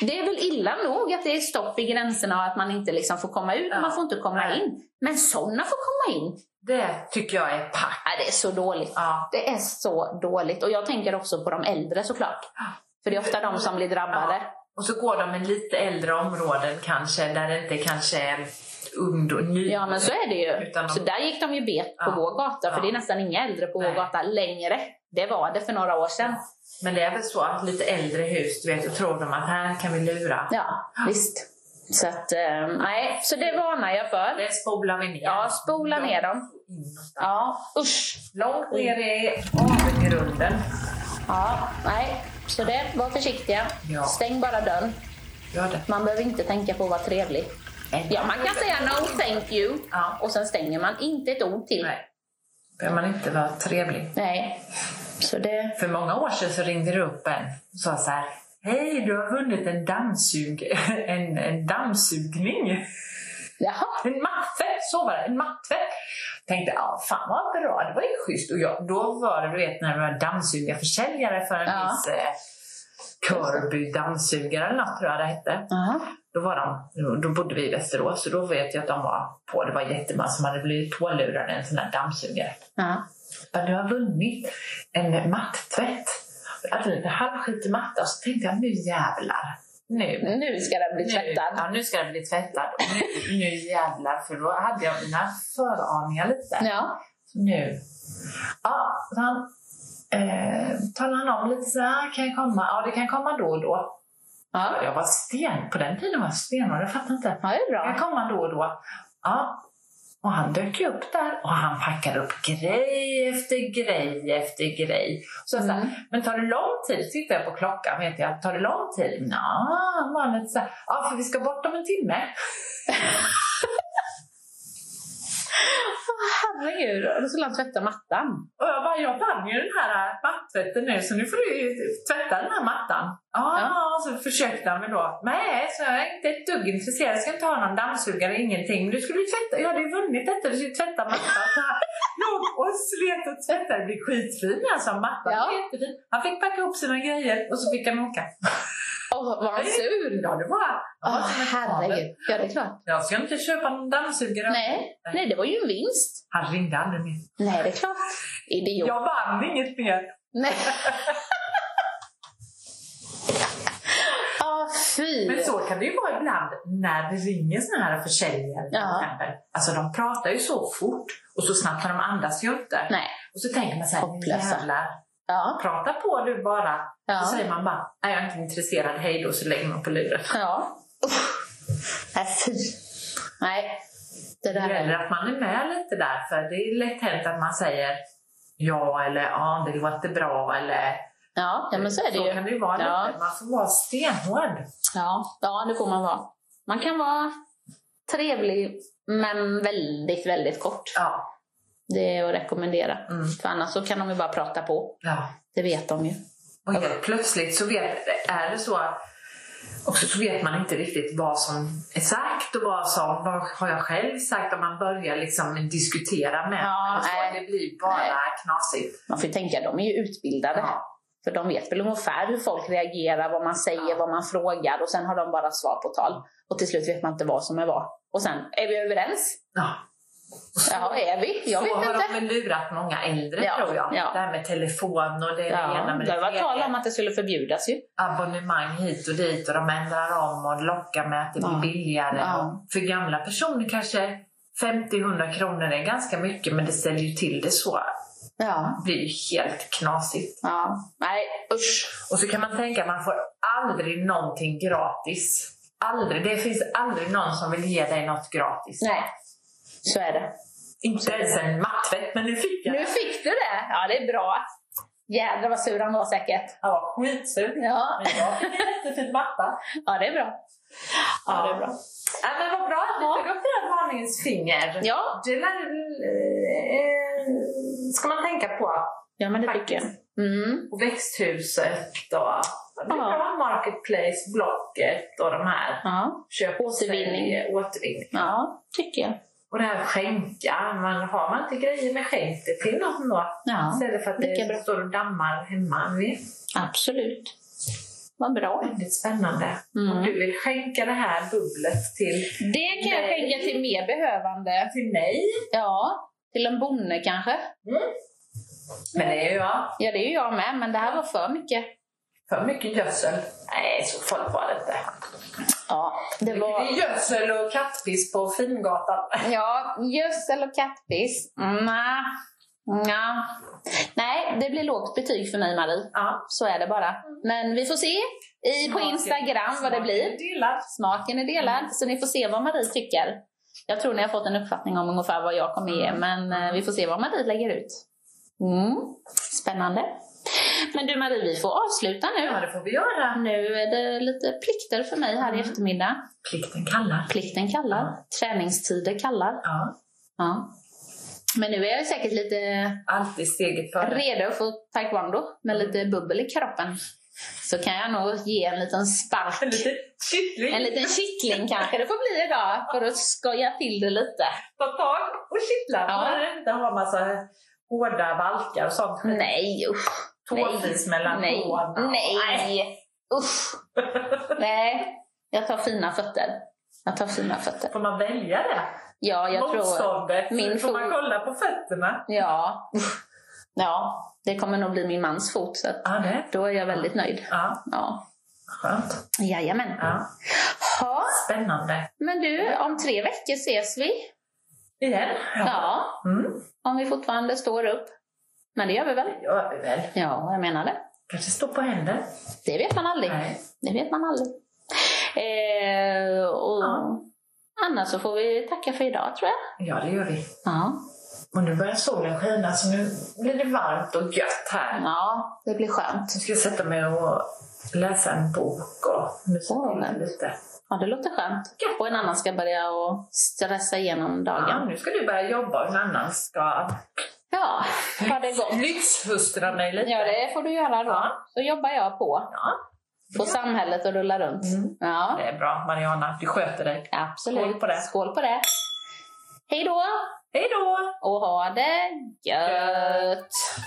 A: Det är väl illa nog att det är stopp i gränserna och att man inte liksom får komma ut och
B: Ja.
A: man får inte komma
B: Nej.
A: in. Men sådana får komma in.
B: Det tycker jag är pack.
A: Nej, det är så dåligt.
B: Ja.
A: Det är så dåligt. Och jag tänker också på de äldre såklart.
B: Ja.
A: För det är ofta de som blir drabbade.
B: Och så går de i lite äldre områden kanske, där det inte kanske är ungdom, ny.
A: Ja, men så är det ju.
B: Utan de-
A: Så där gick de ju bet på
B: Ja.
A: vår gata. För
B: Ja.
A: det är nästan inga äldre på vår
B: Nej.
A: gata längre. Det var det för några år sedan.
B: Men det är väl så att lite äldre hus, du vet, då tror de att här kan vi lura.
A: Ja, visst. Så att, eh, nej. Så det varnar jag för.
B: Det spolar vi ner.
A: Ja, spola ner dem.
B: Inåt.
A: Ja, usch.
B: Långt ner i avgrunden.
A: Ja, nej. Så det, var försiktiga.
B: Ja.
A: Stäng bara dörren.
B: Gör det.
A: Man behöver inte tänka på att vara trevlig. Ja, man kan säga no thank you
B: Ja.
A: och sen stänger man inte ett ord till.
B: Nej. Behöver man inte vara trevlig.
A: Nej. Så det...
B: För många år sedan så ringde det upp en och sa så här. Hej, du har vunnit en, dammsug, en, en dammsugning.
A: Jaha.
B: En matte, så var det. En matte. Tänkte, ja fan vad bra, det var ju schysst. Och jag, då var det, du vet, när man var dammsugarförsäljare för en
A: Ja.
B: viss eh, Körby dammsugare eller något tror jag det hette.
A: Jaha.
B: Då, var de, då bodde vi i Västerås så då vet jag att de var på. Det var jättemånga som hade blivit pålurade en sån här dammsugare.
A: Ja.
B: Men du har vunnit en mattvätt. Jag hade lite halvskitig matta och så tänkte jag, nu jävlar. Nu
A: Nu ska den bli
B: nu,
A: tvättad.
B: ja, nu ska jag bli tvättad. Och nu, nu jävlar, för då hade jag mina föraningar lite.
A: Ja.
B: Så nu. Ja, så han eh, talade han om lite så här, kan jag komma? Ja, det kan komma då och då.
A: Ja.
B: Ja, Jag var sten, på den tiden var jag stenhård, jag fattar inte.
A: ja, det är
B: Kan jag
A: bra.
B: komma då och då? Ja. Och han dök ju upp där och han packade upp grej efter grej efter grej. Så jag sa,
A: Mm.
B: men tar det lång tid? Så Tittar jag på klockan, vet jag. Tar det lång tid? Nja, vanligt så här, Ja, för vi ska bort om en timme.
A: Herregud, då skulle han tvätta mattan.
B: Och jag bara, jag vann ju den här äh, mattvätten nu så nu får du ju tvätta den här mattan. Ja,
A: Ja.
B: så försökte han väl då. Nej, så jag är inte ett dugg intresserad. Jag ska inte ha någon dammsugare, ingenting. Men du skulle ju tvätta, jag hade ju vunnit detta, du skulle tvätta mattan. Så här, låg och slet och tvättade, det blev skitfin alltså mattan.
A: Ja.
B: Ja. Han fick packa ihop sina grejer och så fick han åka.
A: Åh, var han sur?
B: Ja, det var jag. var
A: Åh,
B: som ett barn.
A: herregud. Ja, det är klart.
B: Jag ska inte köpa någon dammsugare.
A: Nej, nej, det var ju en vinst.
B: Han ringde aldrig mer.
A: Nej, det är klart. Idiot.
B: Jag vann inget mer.
A: Nej. Ja, fy.
B: Men så kan det ju vara ibland när det ringer såna här försäljare till
A: Ja.
B: exempel. Alltså de pratar ju så fort och så snabbt och de andas ju inte.
A: Nej.
B: Och så tänker man så här, nu
A: Hopplösa.
B: jävlar,
A: Ja.
B: prata på du bara.
A: Ja.
B: Så säger man bara, nej jag är inte intresserad, hej då, så lägger man på luren.
A: Ja. Usch. Nej, fy. Nej. Det
B: Det
A: där
B: gäller
A: är...
B: att man är med lite där, för det är lätt hänt att man säger ja eller ja, det låter bra eller
A: Ja, ja, men så är det
B: kan
A: ju.
B: det ju vara
A: Ja.
B: lite. Man får vara stenhård.
A: Ja, ja det får man vara. Man kan vara trevlig, men väldigt, väldigt kort.
B: Ja.
A: Det är att rekommendera.
B: Mm.
A: För annars så kan de ju bara prata på.
B: ja.
A: Det vet de ju.
B: Och helt plötsligt så vet, är det så att och så vet man inte riktigt vad som är sagt och vad som vad har jag själv sagt om man börjar liksom diskutera med
A: Ja,
B: och så,
A: nej.
B: Det blir bara
A: Nej.
B: knasigt.
A: Man får ju tänka, de är ju utbildade.
B: Ja.
A: För de vet väl ungefär hur folk reagerar, vad man säger,
B: Ja.
A: vad man frågar och sen har de bara svar på tal. Och till slut vet man inte vad som är vad. Och sen, är vi överens?
B: Ja.
A: Ja, är vi? Jag
B: så
A: vet
B: har
A: inte.
B: de väl lurat många äldre
A: Ja,
B: tror jag.
A: ja.
B: Det här med telefon och det ena
A: Ja,
B: med
A: det har varit tal
B: tredje.
A: om att det skulle förbjudas ju.
B: abonnemang hit och dit och de ändrar om och lockar med att det blir
A: Ja.
B: billigare.
A: Ja.
B: För gamla personer kanske 50-100 kronor är ganska mycket men det ställer ju till det så.
A: Ja.
B: Det blir ju helt knasigt.
A: ja. Nej, usch.
B: Och så kan man tänka att man får aldrig någonting gratis. Aldrig. Det finns aldrig någon som vill ge dig något gratis.
A: Nej, så är det.
B: Inte ens en mattvätt, men nu fick jag
A: Nu fick du det! Ja, det är bra. Jädrar vad sur han var säkert.
B: Han var skitsur.
A: Ja,
B: Men jag fick en jättefin matta.
A: ja det är bra. Ja, det är bra.
B: Ja, men vad bra att
A: Ja.
B: du tog upp det här varningens finger.
A: Ja,
B: Det lär, eh, ska man tänka på.
A: ja men det tycker jag. Mm.
B: Och växthuset och det kan
A: Ja.
B: vara Marketplace, Blocket och de här.
A: Ja.
B: Köp och
A: Återvinning.
B: sälj, återvinning.
A: ja, tycker jag.
B: Och det här skänka. Man, har man inte grejer med skänk det till någon då.
A: Ja,
B: Istället för att det
A: lika bra.
B: står och dammar hemma. Det är
A: absolut. Vad bra.
B: väldigt spännande.
A: Mm.
B: Om du vill skänka det här bubblet till,
A: Det kan jag
B: Nej.
A: skänka till mer behövande.
B: till mig.
A: Ja, till en bonde kanske.
B: Men det är ju jag.
A: Ja, det är ju jag med, men det här var för mycket.
B: För mycket gödsel. Nej, så farligt var det inte.
A: Ja, det
B: Det är
A: var...
B: gödsel och kattpiss på Fingatan.
A: Ja, gödsel och kattpiss. Nja. Nja. Nej, det blir lågt betyg för mig, Marie.
B: Ja.
A: Så är det bara. Men vi får se i, på
B: Smaken-
A: Instagram vad det blir.
B: Delar.
A: Smaken är delad, så ni får se vad Marie tycker. Jag tror ni har fått en uppfattning om ungefär vad jag kommer ge, men eh, vi får se vad Marie lägger ut. Mm. Spännande. Men du Marie, vi får avsluta
B: Ja,
A: nu.
B: det får vi göra.
A: Nu är det lite plikter för mig här i
B: Mm.
A: eftermiddag.
B: Plikten kallar.
A: Plikten kallar, träningstider kallar.
B: Ja.
A: Ja. Men nu är jag säkert lite
B: Alltid steget före.
A: redo för taekwondo med lite bubbel i kroppen. Så kan jag nog ge en liten spark.
B: En liten kyckling.
A: En liten kittling kanske det får bli idag för att skoja till det lite.
B: Ta tag och kittla.
A: Ja.
B: Man behöver inte ha massa hårda valkar och sånt.
A: Nej, usch.
B: Tårfis mellan
A: Nej.
B: tårna.
A: Nej. Usch. Nej. Jag tar fina fötter. Jag tar fina fötter.
B: Får man välja det?
A: Ja, jag tror...
B: Motståndet?
A: min
B: får man
A: fot-
B: kolla på fötterna?
A: Ja. usch. Ja, det kommer nog bli min mans fot. Så att
B: Ja, det.
A: då är jag väldigt nöjd.
B: Ja,
A: Ja.
B: skönt.
A: Jajamän.
B: Ja.
A: Ha.
B: Spännande.
A: Men du, om tre veckor ses vi.
B: Igen.
A: Ja.
B: Mm.
A: Om vi fortfarande står upp. Men det gör vi väl?
B: Det gör vi väl.
A: Ja, jag menar det.
B: Kanske stå på händer.
A: Det vet man aldrig.
B: Nej.
A: Det vet man aldrig. Eh, och
B: Ja.
A: Annars så får vi tacka för idag tror jag.
B: Ja, det gör vi.
A: Ja,
B: Och nu börjar solen skina så nu blir det varmt och gött här.
A: ja det blir skönt.
B: Nu ska jag sätta mig och läsa en bok och mysa
A: Åh, men.
B: till lite.
A: Ja, det låter skönt. Och en annan ska börja och stressa igenom
B: Ja,
A: dagen.
B: nu ska du börja jobba och en annan ska
A: Ja, ha det gott.
B: lyxhustra mig lite.
A: Ja, det får du göra då.
B: Ja.
A: Så jobbar jag på.
B: Ja.
A: Får samhället att rulla runt.
B: Mm.
A: Ja,
B: det är bra Mariana, du sköter dig.
A: absolut.
B: Skål på det.
A: Skål på det. Hej då!
B: Hej då!
A: Och ha det gött!